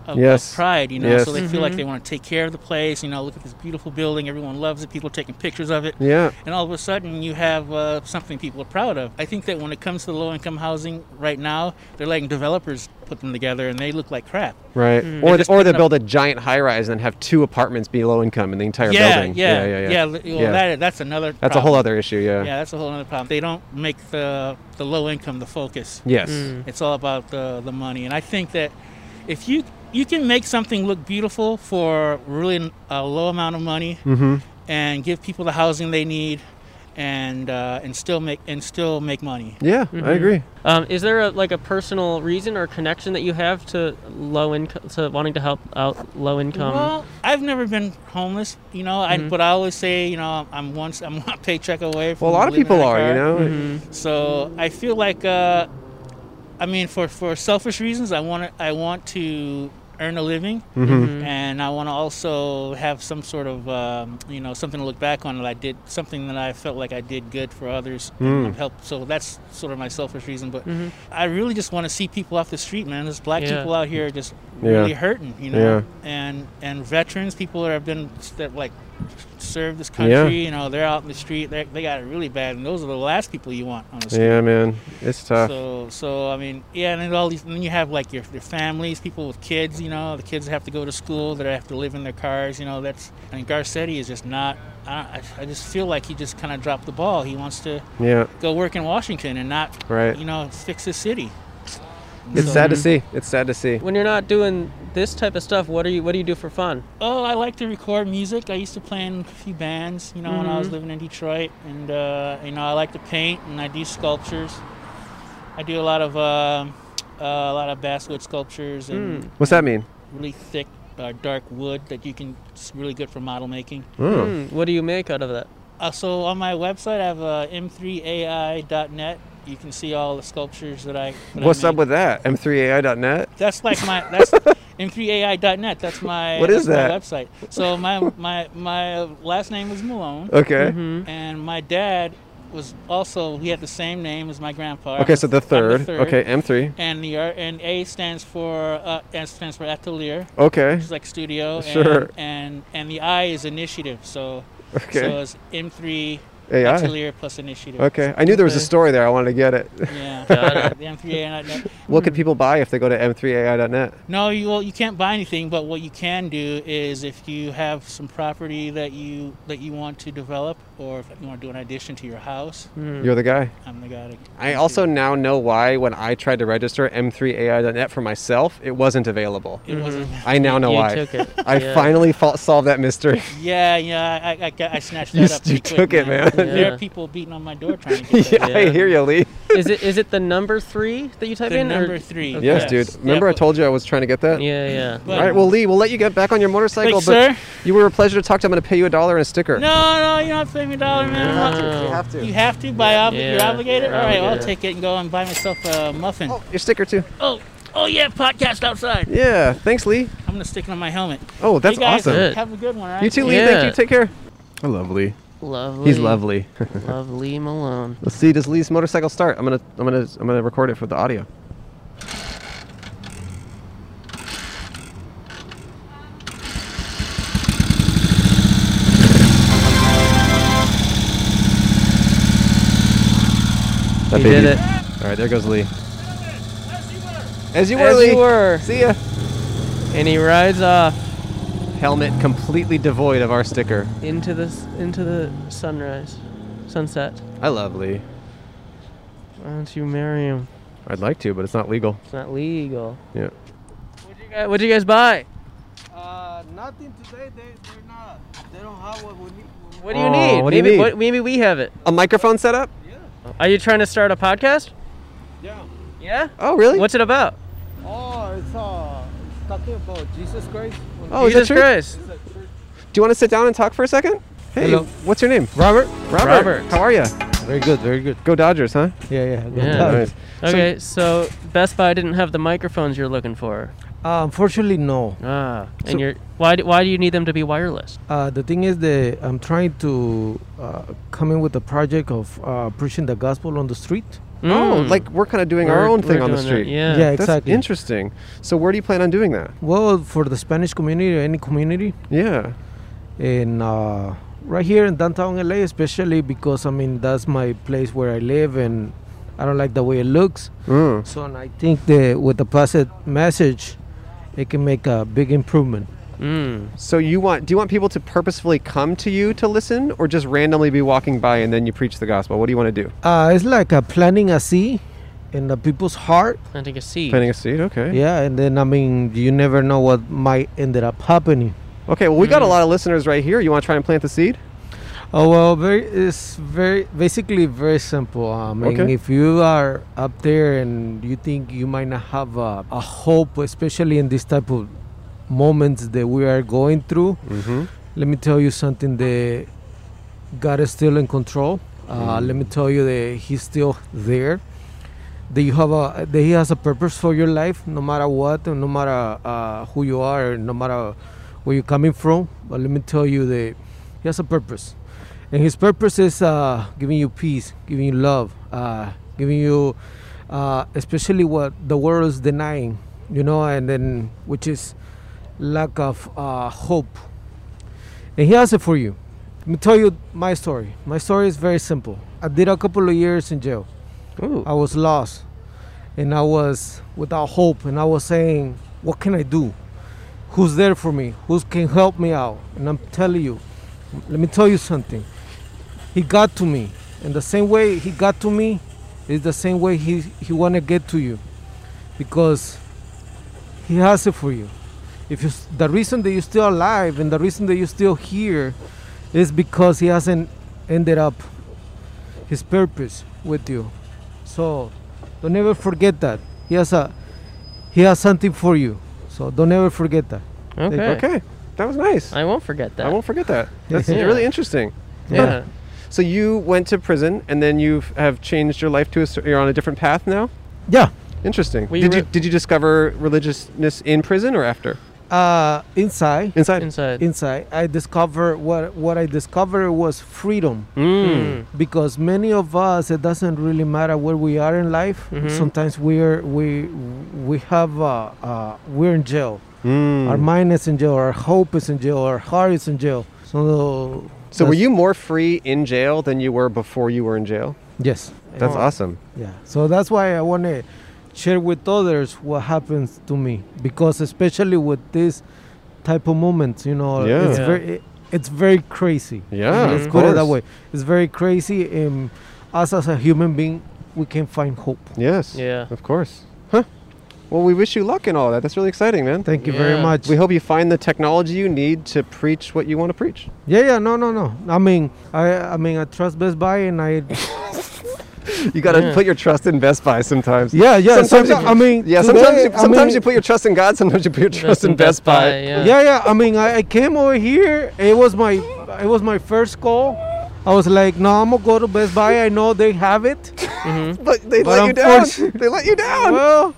S15: of, of
S2: Yes.
S15: pride, you know,
S2: Yes.
S15: so they feel like
S2: Mhm.
S15: they want to take care of the place. You know, look at this beautiful building; everyone loves it. People are taking pictures of it.
S2: Yeah.
S15: And all of a sudden, you have uh, something people are proud of. I think that when it comes to low income housing right now, they're letting developers put them together and they look like crap.
S2: Right.
S15: They're
S2: Or
S15: Hmm. just
S2: they, or they
S15: putting up-
S2: build a giant high-rise and then have two apartments be low-income in the entire
S15: yeah,
S2: building.
S15: Yeah,
S2: yeah, yeah.
S15: Well, That, that's another
S2: That's a whole
S15: problem.
S2: other issue. Yeah.
S15: Yeah, that's a whole other problem. They don't make the, the low income the focus.
S2: Yes. Mm.
S15: It's all about the, the money. And I think that if you you can make something look beautiful for really a low amount of money
S2: Mhm.
S15: and give people the housing they need and uh, and still make and still make money.
S2: Yeah, I agree.
S5: Um, is there a, like a personal reason or connection that you have to low income to wanting to help out low
S2: Um,
S5: income?
S15: Well, I've never been homeless, you know. I,
S5: Mhm.
S15: but I always say, you know, I'm once I'm one paycheck away. From
S2: Mm-hmm. Well, a lot of
S15: living in
S2: people
S15: a
S2: are, you
S15: car. Mm-hmm.
S2: know. Mhm.
S15: So I feel like, uh, I mean, for, for selfish reasons, I want to I want to earn a living,
S2: Mhm. Mhm.
S15: and I want to also have some sort of um, you know something to look back on that I did something that I felt like I did good for others
S2: Mm.
S15: and help. So that's sort of my selfish reason. But
S5: Mhm.
S15: I really just want to see people off the street, man. There's black
S5: Yeah.
S15: people out here just
S2: Yeah.
S15: really hurting, you know.
S2: Yeah.
S15: And and veterans, people that have been that like served this country, you know, they're out in the street. They they got it really bad, and those are the last people you want on the street.
S2: Yeah, man. It's tough.
S15: So so I mean, yeah, and then all these. And then you have like your your families, people with kids. You know, the kids have to go to school. That have to live in their cars. You know, that's and Garcetti is just not. I, I just feel like he just kind of dropped the ball. He wants to
S2: Yeah.
S15: go work in Washington and not
S2: Right.
S15: you know fix the city.
S2: It's
S15: So- mm-hmm.
S2: sad to see. It's sad to see.
S5: when you're not doing this type of stuff, what are you? What do you do for fun?
S15: Oh, I like to record music. I used to play in a few bands, you know, when I was
S2: Mm-hmm.
S5: Mhm.
S15: living in Detroit, and uh, you know, I like to paint and I do sculptures. I do a lot of um uh, a lot of basswood sculptures and
S2: Mm. What's that mean?
S15: Really thick, uh, dark wood that you can. It's really good for model making. Hmm.
S5: Mm, what do you make out of that?
S15: Uh, so on my website, I have uh, m3ai.net. You can see all the sculptures that I. That I
S2: What's
S15: made.
S2: up with that? M3AI.net.
S15: That's like my that's m3ai.net. That's my
S2: What is
S15: that's my website. So my my my last name was Malone.
S2: Okay.
S15: And my dad was also he had the same name as my grandpa.
S2: Okay, so the
S15: I'm
S2: third. Okay, M3.
S15: And the R and A stands for uh, S stands for atelier.
S2: Okay.
S15: Which is like studio.
S2: Sure.
S15: And and, and the I is initiative. So
S2: Okay.
S15: So it's M3
S2: AI.
S15: atelier plus initiative.
S2: Okay. I knew there was a story there. I wanted to get it.
S15: Yeah. Got it. The M3AI.net.
S2: what could people buy if they go to M3AI.net?
S15: No, you well, you can't buy anything. But what you can do is if you have some property that you that you want to develop, or if you want to do an addition to your house,
S2: You're the guy.
S15: I'm the guy. To,
S2: Mm-hmm. I also now know why when I tried to register M3AI.net for myself, it wasn't available.
S15: It wasn't
S2: I now know
S5: You
S2: why.
S5: took it.
S2: I
S5: Yeah.
S2: finally fought, solved that mystery.
S15: yeah, yeah, I, I, got- I snatched
S2: You
S15: that
S2: s-
S15: up.
S2: you
S15: pretty
S2: took
S15: quick,
S2: it, man.
S15: There
S5: Yeah.
S15: are people beating on my door trying to get that.
S2: I hear you, Lee.
S5: Is it is it the number three that you type
S15: The
S5: in? or-
S15: number three,
S5: Okay.
S2: Yes, dude. Remember I told you I was trying to get that?
S5: Yeah, yeah.
S2: All right, well, Lee, we'll let you get back on your motorcycle,
S15: Thanks,
S2: but
S15: sir.
S2: you were a pleasure to talk to. I'm going to pay you a dollar and a sticker.
S15: No, no, you don't have to pay me a dollar, man. You have to. You have to. You have to. By obli- you're
S2: Yeah,
S15: obligated.
S2: you're
S15: All right, well, I'll
S2: obligated.
S15: take it and go and buy myself a muffin. Oh,
S2: your sticker too.
S15: Oh, oh yeah, podcast outside.
S2: Yeah, thanks, Lee.
S15: I'm gonna stick it on my helmet.
S2: Oh, that's
S15: you guys,
S2: awesome. Good.
S15: Have a good one. all
S2: You
S15: right?
S2: too, Lee. Thank you. Take care. I love Lee.
S5: Lovely.
S2: He's lovely.
S5: lovely Malone.
S2: Let's see. Does Lee's motorcycle start? I'm gonna, I'm gonna, I'm gonna record it for the audio. That
S5: He
S2: baby-
S5: did it.
S2: All right, there goes Lee. As you were,
S5: As
S2: Lee.
S5: you were.
S2: See ya.
S5: And he rides off
S2: Helmet completely devoid of our sticker.
S5: into the s- into the sunrise, sunset.
S2: I love Lee.
S5: Why don't you marry him?
S2: I'd like to, but it's not legal.
S5: It's not legal.
S2: Yeah.
S5: What'd you guys, what'd you guys buy?
S16: Nothing today. They they're not. They don't have what we need.
S5: What do you
S2: Aw,
S5: need?
S2: Oh, what do you
S5: maybe
S2: need?
S5: What, maybe we have it.
S2: A microphone setup?
S5: Are you trying to start a podcast?
S16: Yeah.
S5: Yeah.
S2: Oh, really?
S5: What's it about?
S16: Oh, it's uh, it's talking about Jesus Christ.
S2: Oh, is that
S5: Jesus
S2: true?
S5: Christ.
S2: Do you want to sit down and talk for a second? Hey,
S6: Hello.
S2: what's your name? Robert. Robert.
S5: Robert.
S2: How are you?
S6: Very good, very good.
S2: Go Dodgers, huh?
S6: Yeah, yeah. go
S5: Yeah.
S6: Dodgers.
S5: Okay, so Best Buy didn't have the microphones you're looking for.
S6: Uh, unfortunately,
S2: Oh.
S6: no.
S5: Ah, and
S6: So-
S5: you're why do, why do you need them to be wireless?
S6: Uh, the thing is that I'm trying to uh, come in with a project of uh, preaching the gospel on the street.
S2: Oh,
S5: Hmm.
S2: like we're kind of doing our
S6: Mm. We're-
S2: own thing
S6: we're
S2: on the
S6: doing that,
S2: street.
S6: yeah. Yeah,
S2: That's
S6: exactly.
S2: interesting. So where do you plan on doing that?
S6: Well, for the Spanish community, or any community.
S2: Yeah.
S6: And uh, right here in downtown LA, especially because I mean that's my place where I live, and I don't like the way it looks.
S2: Mm.
S6: So and I think that with the positive message, it can make a big improvement.
S2: So you want? Do you want people to purposefully come to you to listen, or just randomly be walking by and then you preach the gospel? What do you want to do?
S6: Uh, it's like a planting a seed in the people's heart.
S5: Planting a seed.
S2: Planting a seed. Okay.
S6: Yeah, and then I mean, you never know what might ended up happening.
S2: Okay. Well, we got a lot of listeners right here. You want to try and plant the seed?
S6: Mm. Oh well, very it's very basically very simple. I mean,
S2: Okay.
S6: if you are up there and you think you might not have a, a hope, especially in this type of moments that we are going through,
S2: Mhm.
S6: let me tell you something that God is still in control. Uh,
S2: Mm.
S6: Let me tell you that He's still there. That you have a that He has a purpose for your life, no matter what, and no matter uh, who you are, and no matter where you're coming from. But let me tell you that He has a purpose, and His purpose is uh, giving you peace, giving you love, uh, giving you, uh, especially what the world is denying, you know, and then which is lack of uh, hope and he has it for you. Let me tell you my story. My story is very simple. I did a couple of years in jail. I was lost and I was without hope and I was saying, What can I do? Who's there for me? Who can help me out? And I'm telling you, let me tell you something. He got to me. And the same way he got to me is the same way he, he wanna get to you. Because he has it for you. If you, s- the reason that you're still alive and the reason that you're still here is because He hasn't ended up His purpose with you. So don't ever forget that He has a He has something for you. So don't ever forget that.
S5: Okay.
S2: Okay. That was nice.
S5: I won't forget that.
S2: I won't forget that. That's
S5: Yeah.
S2: really interesting.
S5: Yeah.
S2: Huh. So you went to prison, and then you have changed your life to a, cer- you're on a different path now.
S6: Yeah.
S2: Interesting.
S6: Well, you
S2: did you
S6: were-
S2: did you discover religiousness in prison or after?
S6: Uh, inside.
S2: Inside.
S5: Inside.
S6: Inside. I discovered what what I discovered was freedom.
S5: Mm. Mm.
S6: Because many of us, it doesn't really matter where we are in life.
S5: Mhm.
S6: Sometimes we're we we have uh, uh, we're in jail.
S2: Mm.
S6: Our mind is in jail. Our hope is in jail. Our heart is in jail. So.
S2: So were
S6: that's-
S2: you more free in jail than you were before you were in jail?
S6: Yes.
S2: That's
S6: Oh.
S2: awesome.
S6: Yeah. So that's why I want to share with others what happens to me because especially with this type of moments, you know,
S2: Yeah.
S6: it's
S2: Yeah.
S6: very it's very crazy.
S2: Yeah,
S6: Let's
S2: of
S6: put it that
S2: course.
S6: way. It's very crazy and us as a human being, we can find hope.
S2: Yes.
S5: Yeah.
S2: Of course. Huh. Well, we wish you luck in all that. That's really exciting, man.
S6: Thank you very Yeah. much.
S2: We hope you find the technology you need to preach what you want to preach.
S6: Yeah, yeah, no, no, no. I mean, I I mean, I trust Best Buy and I
S2: You got to
S6: Yeah.
S2: put your trust in Best Buy sometimes.
S6: Yeah, yeah,
S2: Sometimes,
S6: someti-
S2: you-
S6: I mean,
S2: yeah.
S6: today,
S2: Sometimes, you,
S6: I
S2: sometimes
S6: mean-
S2: you put your trust in God. Sometimes you put your trust in Best, Buy.
S6: yeah. yeah, I mean, I, I came over here. It was my, it was my first call. I was like, no, I'm gonna go to Best Buy. I know Oh, they have it.
S2: But they let you down. They let you
S12: Um,
S2: down.
S6: Well,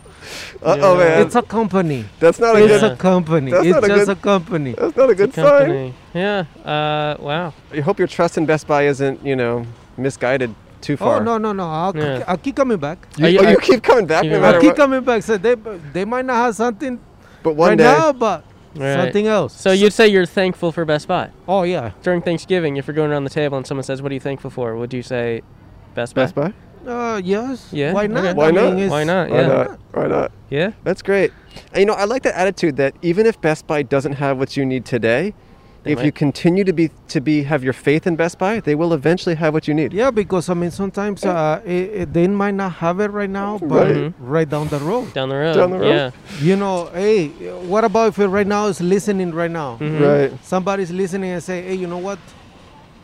S2: Uh-oh, man.
S6: It's a company.
S2: That's not a
S6: it's
S2: good-
S6: a company.
S2: That's
S6: it's
S2: not a
S6: just
S2: good-
S6: a company.
S2: that's not a It's a good sign. company.
S5: Yeah. Uh, wow.
S2: You hope your trust in Best Buy isn't, you know, misguided too far.
S6: Oh no no no! I'll,
S2: Yeah.
S6: I'll keep coming back.
S2: You- Are you- oh, you keep coming back no matter
S6: I'll keep
S2: what?
S6: coming back. So they they might not have something,
S2: but one
S6: right
S2: day-
S6: now, but
S5: Right.
S6: something else.
S5: So you'd say you're thankful for Best Buy.
S6: Oh yeah.
S5: During Thanksgiving, if you're going around the table and someone says, "What are you thankful for?" Would you say, "Best Buy"?
S2: Best Buy?
S6: Uh, yes.
S2: Yeah.
S6: Why not?
S2: okay. Why
S6: I
S2: not?
S6: mean, it's-
S2: Why not? Why not? Why not?
S5: Yeah.
S2: That's great. And, you know, I like that attitude that even if Best Buy doesn't have what you need today,
S6: They
S2: if you
S6: might.
S2: continue to be to be have your faith in Best Buy, they will eventually have what you need.
S6: Yeah, because I mean sometimes uh, it, it- they might not have it right now, but
S2: Right.
S6: right,
S2: Mhm.
S6: down the road.
S5: Down the road, Down the road. yeah.
S6: You know, hey, what about if it right now is listening right now?
S5: Mhm. Right.
S6: Somebody's listening and say, hey, you know what?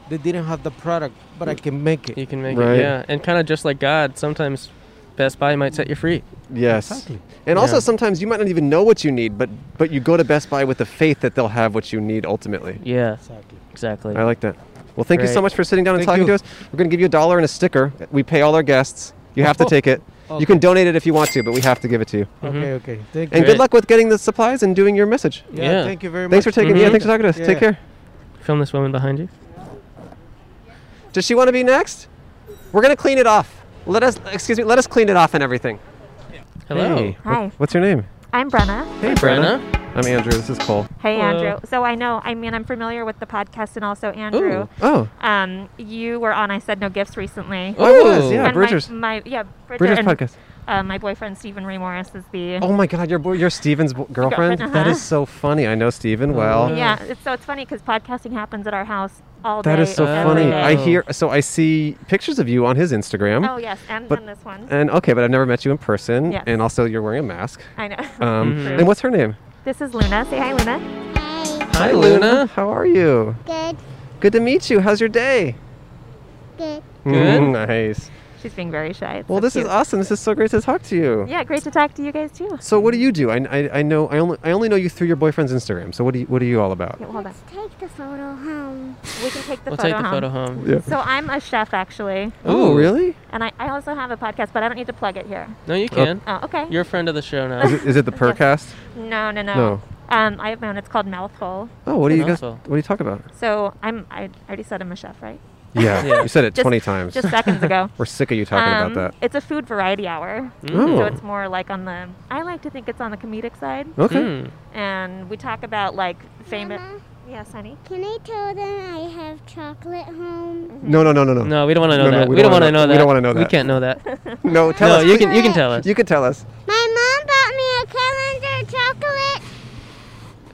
S6: They didn't have the product, but I can make it.
S5: You can make
S2: Right.
S5: it. Yeah. And kind of just like God, sometimes Best Buy might set you free.
S2: Yes. And
S5: Yeah.
S2: also sometimes you might not even know what you need, but but you go to Best Buy with the faith that they'll have what you need ultimately.
S5: Yeah. Exactly. Exactly.
S2: I like that. Well, thank you so
S5: Great.
S2: much for sitting down and
S5: Thank
S2: talking
S5: you.
S2: to us. We're going to give you a dollar and a sticker. We pay all our guests. You have to take it. You can
S6: Okay.
S2: donate it if you want to, but we have to give it to you.
S6: Okay, okay. Thank
S2: And
S6: you.
S2: good luck with getting the supplies and doing your message.
S6: Yeah, Yeah. thank you very
S2: Thanks
S6: much.
S2: for taking. Yeah,
S6: Mhm.
S2: thanks for talking to us.
S6: Yeah.
S2: Take care.
S5: Film this woman behind you.
S2: Does she want to be next? We're going to clean it off. Let us, excuse me, let us clean it off and everything.
S5: Hello.
S2: Hey.
S17: Hi.
S2: Wh- What's your name?
S17: I'm Brenna.
S2: Hey, Brenna. I'm Andrew. This is Cole.
S17: Hey, Andrew. So I know, I mean, I'm familiar with the podcast and also Andrew.
S2: Oh.
S17: Um, you were on I Said No Gifts recently.
S2: Oh, I was, yeah,
S17: And my-
S2: Bridger's-
S17: My, yeah, Bridger
S2: Bridger's
S17: and,
S2: podcast.
S17: Uh, my boyfriend, Stephen Ray Morris, is the.
S2: Oh my God, your boy, your Steven's bo- girlfriend.
S17: Girlfriend,
S2: That
S17: uh-huh.
S2: is so funny. I know Steven well.
S17: Yeah. It's, so it's funny because podcasting happens at our house all day.
S2: That is so
S17: every
S2: funny.
S17: day.
S2: I hear so I see pictures of you on his Instagram.
S17: Oh, yes, and-
S2: but-
S17: and this one.
S2: And okay, but I've never met you in person.
S17: Yes.
S2: And also, you're wearing a mask.
S17: I know.
S2: Um,
S17: True.
S2: And what's her name?
S17: This is Luna. Say hi, Luna.
S2: Hi, Luna. How are you?
S17: Good.
S2: Good to meet you. How's your day?
S17: Good.
S5: Good.
S2: Mm, nice.
S17: She's being very shy. It's
S2: Well,
S17: so
S2: this
S17: cute.
S2: is awesome. This is so great to talk to you.
S17: Yeah, great to talk to you guys too.
S2: So, what do you do? I, I, I know I only I only know you through your boyfriend's Instagram. So, what do you, what are you all about?
S17: Yeah, hold on. take the photo home. We can take the
S5: We'll
S17: photo
S5: take the
S17: home.
S5: photo home.
S2: Yeah.
S17: So I'm a chef actually.
S2: Oh, Ooh. really?
S17: And I, I also have a podcast, but I don't need to plug it here.
S5: No, you can.
S17: Oh, okay.
S5: You're a friend of the show now.
S2: Is it, is it the Percast?
S17: No, no, no.
S2: No.
S17: Um, I have my own. It's called Mouthful.
S2: Oh, what do you guys?
S5: Awesome.
S2: What do you talk about?
S17: So I'm. I already said I'm a chef, right?
S2: Yeah, you said it
S17: Just-
S2: 20 times.
S17: Just seconds ago.
S2: We're sick of you talking about
S17: Um,
S2: that.
S17: It's a food variety hour.
S2: Mm.
S17: So
S2: Oh.
S17: it's more like on the. I like to think it's on the comedic side.
S2: Okay. Mm.
S17: And we talk about like famous. Yes, honey.
S18: Can I tell them I have chocolate home?
S2: No, no, no, no, no.
S5: No, we don't want to know that. we, don't want to know that.
S2: We don't want to know that.
S5: We can't know that.
S2: No, tell
S5: no,
S2: us,
S5: You can.
S2: please.
S5: You can tell us.
S2: You can tell us.
S18: My mom bought me a calendar chocolate.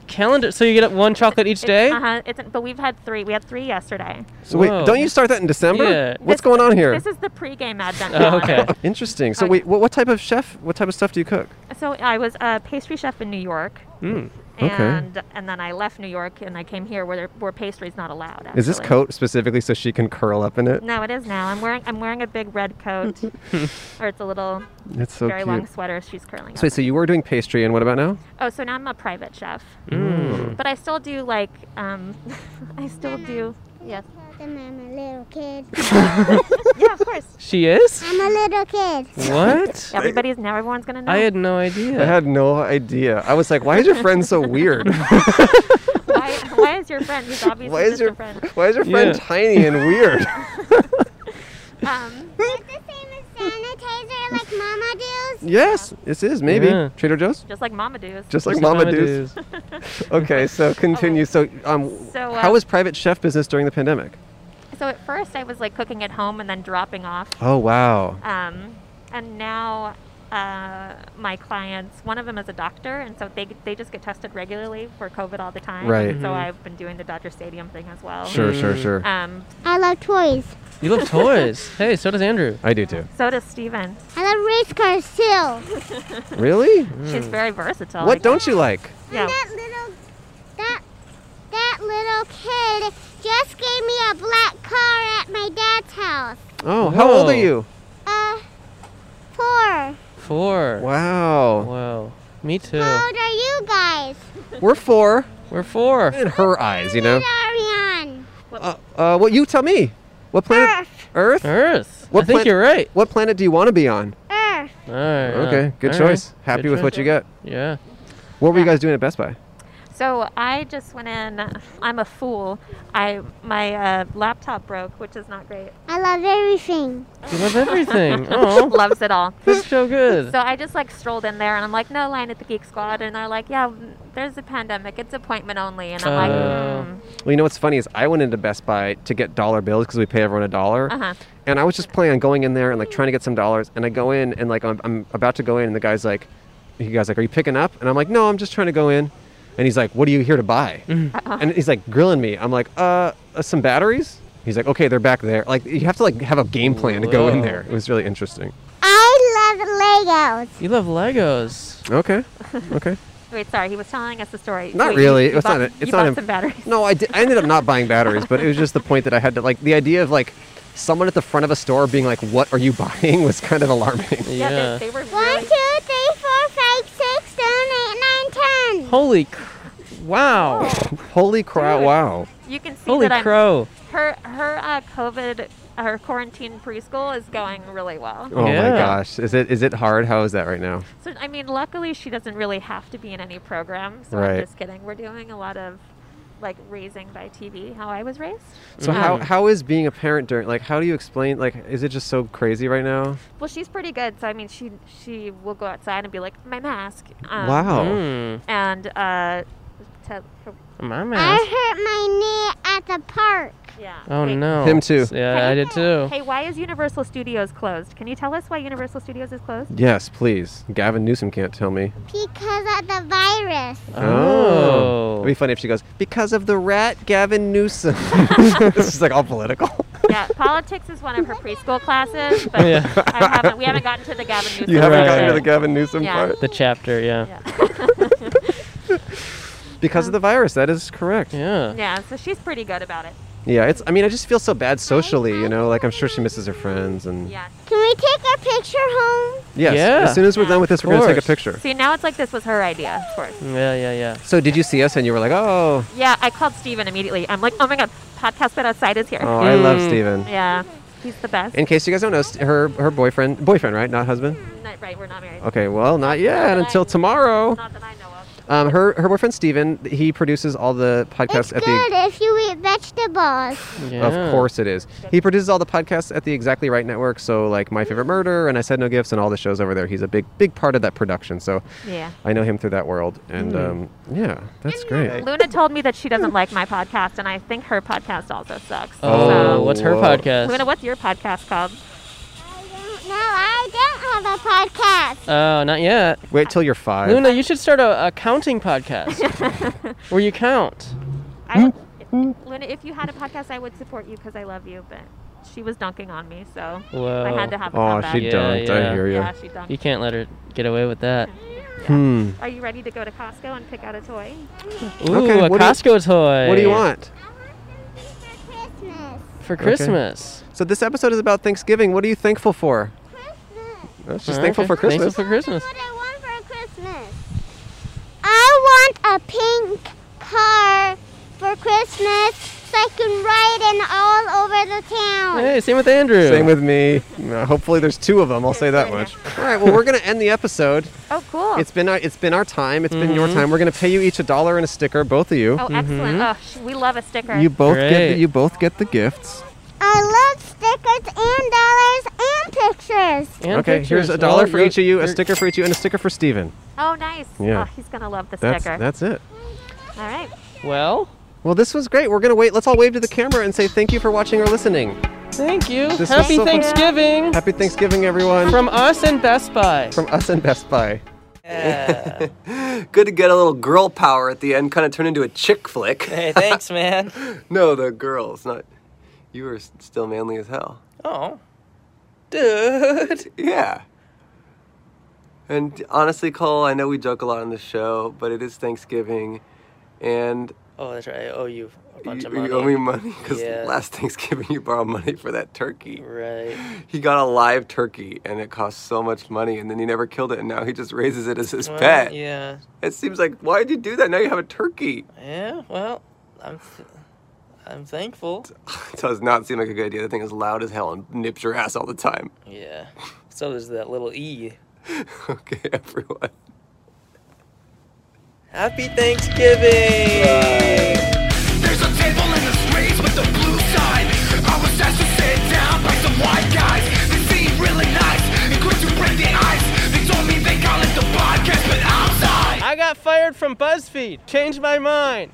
S5: Calendar. So you get one chocolate each day.
S17: Uh huh. It's, but we've had three. We had three yesterday.
S2: So wait, don't you start that in December?
S5: Yeah.
S2: What's going on here?
S17: This is the pregame advent.
S5: Oh, okay.
S17: calendar.
S2: Interesting. So wait, what, what type of chef? What type of stuff do you cook?
S17: So I was a pastry chef in New York.
S2: Mm, okay.
S17: And and then I left New York and I came here where there, where pastry's not allowed.
S2: Is this
S17: actually.
S2: coat specifically so she can curl up in it?
S17: No, it is now. I'm wearing I'm wearing a big red coat, or it's a little
S2: That's so
S17: very long
S2: cute.
S17: sweater. She's curling.
S2: So wait, so you were doing pastry, and what about now?
S17: Oh, so now I'm a private chef.
S2: Mm.
S17: But I still do like um, I still do. Yes.
S18: Then I'm a little kid.
S17: yeah, of course.
S5: She is.
S18: I'm a little kid.
S5: What?
S17: Everybody's now everyone's gonna know.
S5: I had no idea.
S2: I had no idea. I was like, why is your friend so weird?
S17: why, why is your friend? He's obviously
S2: why is
S17: just
S2: your
S17: a friend.
S2: why is your friend
S5: Yeah.
S2: tiny and weird?
S17: Um,
S18: Sanitizer like Mama does.
S2: yes, this is maybe
S5: Yeah.
S2: Trader Joe's.
S17: just like Mama does.
S2: Just like Mama Do's. okay, so continue. So, um,
S17: So,
S2: how
S17: uh,
S2: was private chef business during the pandemic?
S17: So at first I was like cooking at home and then dropping off.
S2: Oh wow.
S17: Um, and now uh, my clients, one of them is a doctor, and so they, they just get tested regularly for COVID all the time.
S2: Right.
S17: And
S2: Mhm.
S17: So I've been doing the Dodger Stadium thing as well.
S2: Sure, sure, Mm. sure.
S17: Um,
S18: I love toys.
S5: You love toys. hey, so does Andrew.
S2: I do too.
S17: so does Steven.
S18: I love race cars too.
S2: Really?
S17: She's very versatile.
S2: Mm. What
S17: I
S2: don't
S17: guess.
S2: you like?
S17: Yeah.
S18: That little that that little kid just gave me a black car at my dad's house.
S2: Oh, how old are
S5: Whoa.
S2: you?
S18: Uh, four.
S5: Four.
S2: Wow.
S5: Wow. Me too.
S18: How old are you guys?
S2: We're four.
S5: We're four.
S2: In her eyes, you know.
S18: Are we on?
S2: Uh, uh, well, you tell me. What
S17: Ah.
S2: planet? Earth.
S5: Earth.
S2: What
S5: I think
S2: planet-
S5: you're right.
S2: What planet do you want to be on?
S18: Earth.
S5: All right.
S2: Okay, good choice. Happy with what you got.
S5: Yeah.
S2: What were you guys doing at Best Buy?
S17: So I just went in. I'm a fool. I my uh, laptop broke, which is not great.
S18: I love everything.
S5: You love everything. Oh.
S17: Loves it all.
S5: That's so good.
S17: So I just like strolled in there and I'm like, no line at the Geek Squad. And they're like, yeah, mm, there's a pandemic. It's appointment only. And I'm like,
S2: Uh,
S17: mm.
S2: Well, you know what's funny is I went into Best Buy to get dollar bills because we pay everyone a dollar.
S17: Uh-huh.
S2: And I was just planning on going in there and like trying to get some dollars. And I go in and like I'm, I'm about to go in and the guy's like, he guy's like, are you picking up? And I'm like, no, I'm just trying to go in. And he's like, what are you here to buy? And he's like grilling me. I'm like, uh, uh, some batteries. He's like, okay, they're back there. Like you have to like have a game plan to go in
S5: Whoa.
S2: there. It was really interesting.
S18: I love Legos.
S5: You love Legos.
S2: Okay. Okay.
S17: wait, sorry. He was telling us the story.
S2: Not
S17: Wait,
S2: really.
S17: you-
S2: It
S17: you
S2: was
S17: bought-
S2: not. It's
S17: you
S2: not.
S17: bought
S2: im-
S17: some batteries.
S2: No, I, did, I ended up not buying batteries, but it was just the point that I had to like the idea of like someone at the front of a store being like, "What are you buying?" was kind of alarming.
S17: they were
S18: One, two, three, four, five, six, seven, eight, nine, ten.
S5: Holy, cr- wow.
S2: Holy crap! Wow.
S17: You can see
S5: Holy
S17: Oh, that I'm-
S5: crow.
S17: Her her uh, COVID her quarantine preschool is going really well.
S2: Oh my
S5: Yeah.
S2: gosh. Is it is it hard? How is that right now?
S17: So I mean, luckily she doesn't really have to be in any program. So
S2: Right.
S17: I'm just kidding. We're doing a lot of like raising by TV, how I was raised.
S2: So
S5: Mm.
S17: Um,
S2: how how is being a parent during like how do you explain like is it just so crazy right now?
S17: Well, she's pretty good. So I mean, she she will go outside and be like, my mask. Um,
S2: Wow.
S5: Mm.
S17: And uh, to,
S5: My
S18: I
S5: mask.
S18: hurt my knee at the park.
S17: yeah.
S5: Oh no.
S2: Him too.
S5: Yeah, I did too.
S17: Hey, why is Universal Studios closed? Can you tell us why Universal Studios is closed?
S2: Yes, please. Gavin Newsom can't tell me.
S18: Because of the virus.
S5: Oh.
S2: It'd be funny if she goes because of the rat Gavin Newsom. this is like all political.
S17: yeah, politics is one of her preschool classes, but
S2: Yeah.
S17: I haven't, we haven't gotten to the Gavin Newsom.
S2: You haven't
S5: Right,
S2: gotten to
S5: right.
S2: the Gavin Newsom
S17: Yeah.
S2: part?
S5: The chapter, yeah.
S2: Because of the virus, that is correct.
S5: Yeah.
S17: Yeah, so she's pretty good about it.
S2: Yeah, it's I mean I just feel so bad socially, you know, like I'm sure she misses her friends and
S17: Yeah.
S18: Can we take a picture home?
S2: Yes.
S5: Yeah.
S2: As soon as we're done with this,
S5: Of
S2: we're gonna take a
S5: course.
S2: picture.
S17: See, now it's like this was her idea, of course.
S5: Yeah, yeah, yeah.
S2: So did you see us and you were like, Oh
S17: Yeah, I called Steven immediately. I'm like, oh my god, podcast bit outside is here.
S2: Oh, I love Mm. Steven.
S17: Yeah, he's the best.
S2: in case you guys don't know, st- her her boyfriend boyfriend, right? Not husband?
S17: Not- right, we're not married.
S2: Okay, well not yet until tomorrow.
S17: Not that I know of.
S2: Um, her her boyfriend Steven, he produces all the podcasts at the
S18: Good if you eat vegetables.
S2: Of course it is. He produces all the podcasts at the Exactly Right Network, so like My
S17: Mm-hmm.
S2: Favorite Murder and I Said No Gifts and all the shows over there. He's a big, big part of that production. So
S17: Yeah. Mm-hmm.
S2: I know him through that world, and
S5: Mm.
S2: um, yeah, that's great.
S17: Luna told me that she doesn't like my podcast, and I think her podcast also sucks.
S5: Oh,
S2: So-
S5: what's her
S2: Whoa.
S5: podcast?
S17: Luna, what's your podcast called?
S18: No, I don't have a podcast.
S5: Oh, not yet.
S2: Wait till you're five.
S5: Luna, you should start a, a counting podcast where you count.
S17: I would,
S2: Mm-hmm.
S17: Luna, if you had a podcast, I would support you because I love you, but she was dunking on me, so I had to have a
S2: Whoa. Aw,
S17: comeback.
S2: she dunked. I hear ya.
S17: Yeah, she dunked.
S5: You can't let her get away with that.
S2: Hmm.
S17: Are you ready to go to Costco and pick out a toy?
S5: Ooh,
S2: Okay,
S5: a
S2: what do you-
S5: Costco toy.
S2: What do you want?
S5: For
S2: Okay.
S5: Christmas.
S2: So this episode is about Thanksgiving. What are you thankful for? Christmas. she's thankful
S5: Okay,
S2: for
S5: thankful
S2: Christmas.
S5: for Christmas.
S18: What I want for Christmas. I want a pink car for Christmas so I can ride it all over the town.
S5: Hey, same with Andrew.
S2: Same with me. Uh, hopefully, there's two of them. I'll say that much. All right. Well, we're gonna end the episode.
S17: Oh, cool.
S2: It's been our, it's been our time. It's been your
S5: Mhm.
S2: time. We're gonna pay you each a dollar and a sticker, both of you.
S17: Mm-hmm. oh, excellent. Oh, sh- we love a sticker.
S2: Mm-hmm. You both get the,
S5: Great.
S2: you both get the gifts.
S18: I love stickers and dollars and pictures.
S2: okay, here's a dollar for each of you, a sticker for each of you, and a sticker for Steven.
S17: Oh, nice.
S2: Yeah.
S17: Oh, he's going to love the
S2: That's
S17: sticker.
S2: that's it.
S17: All right.
S5: Well,
S2: Well, this was great. We're gonna wait. Let's all wave to the camera and say thank you for watching or listening.
S5: thank you.
S2: This was
S5: Happy
S2: so fun.
S5: Thanksgiving
S2: Happy Thanksgiving, everyone.
S5: from us and Best Buy.
S2: from us and Best Buy.
S9: Good to get a little girl power at the end, kind of turn into a chick flick. Hey,
S1: thanks, man.
S9: no, the girls, not. You were s- still manly as hell.
S1: Oh, dude.
S9: Yeah. And honestly, Cole, I know we joke a lot on the show, but it is Thanksgiving, and
S1: Oh, that's right. I owe you a bunch
S9: you,
S1: of money.
S9: you owe me money because
S1: Yeah. Mm.
S9: last Thanksgiving you borrowed money for that turkey.
S1: Right.
S9: He got a live turkey, and it cost so much money, and then he never killed it, and now he just raises it as his
S1: Well,
S9: pet.
S1: Yeah.
S9: It seems like why would you do that? Now you have a turkey.
S1: Yeah. Well, I'm. Th- I'm thankful.
S9: It does not seem like a good idea. That thing is loud as hell and nips your ass all the time.
S1: Yeah. So does that little E.
S9: okay, everyone.
S1: Happy Thanksgiving.
S4: There's a table in the streets with the blue sign. I was asked to sit down by some white guys. They seemed really nice and quick to break the ice. They told me they call it the podcast, but I'm sorry.
S5: I got fired from BuzzFeed. Changed my mind.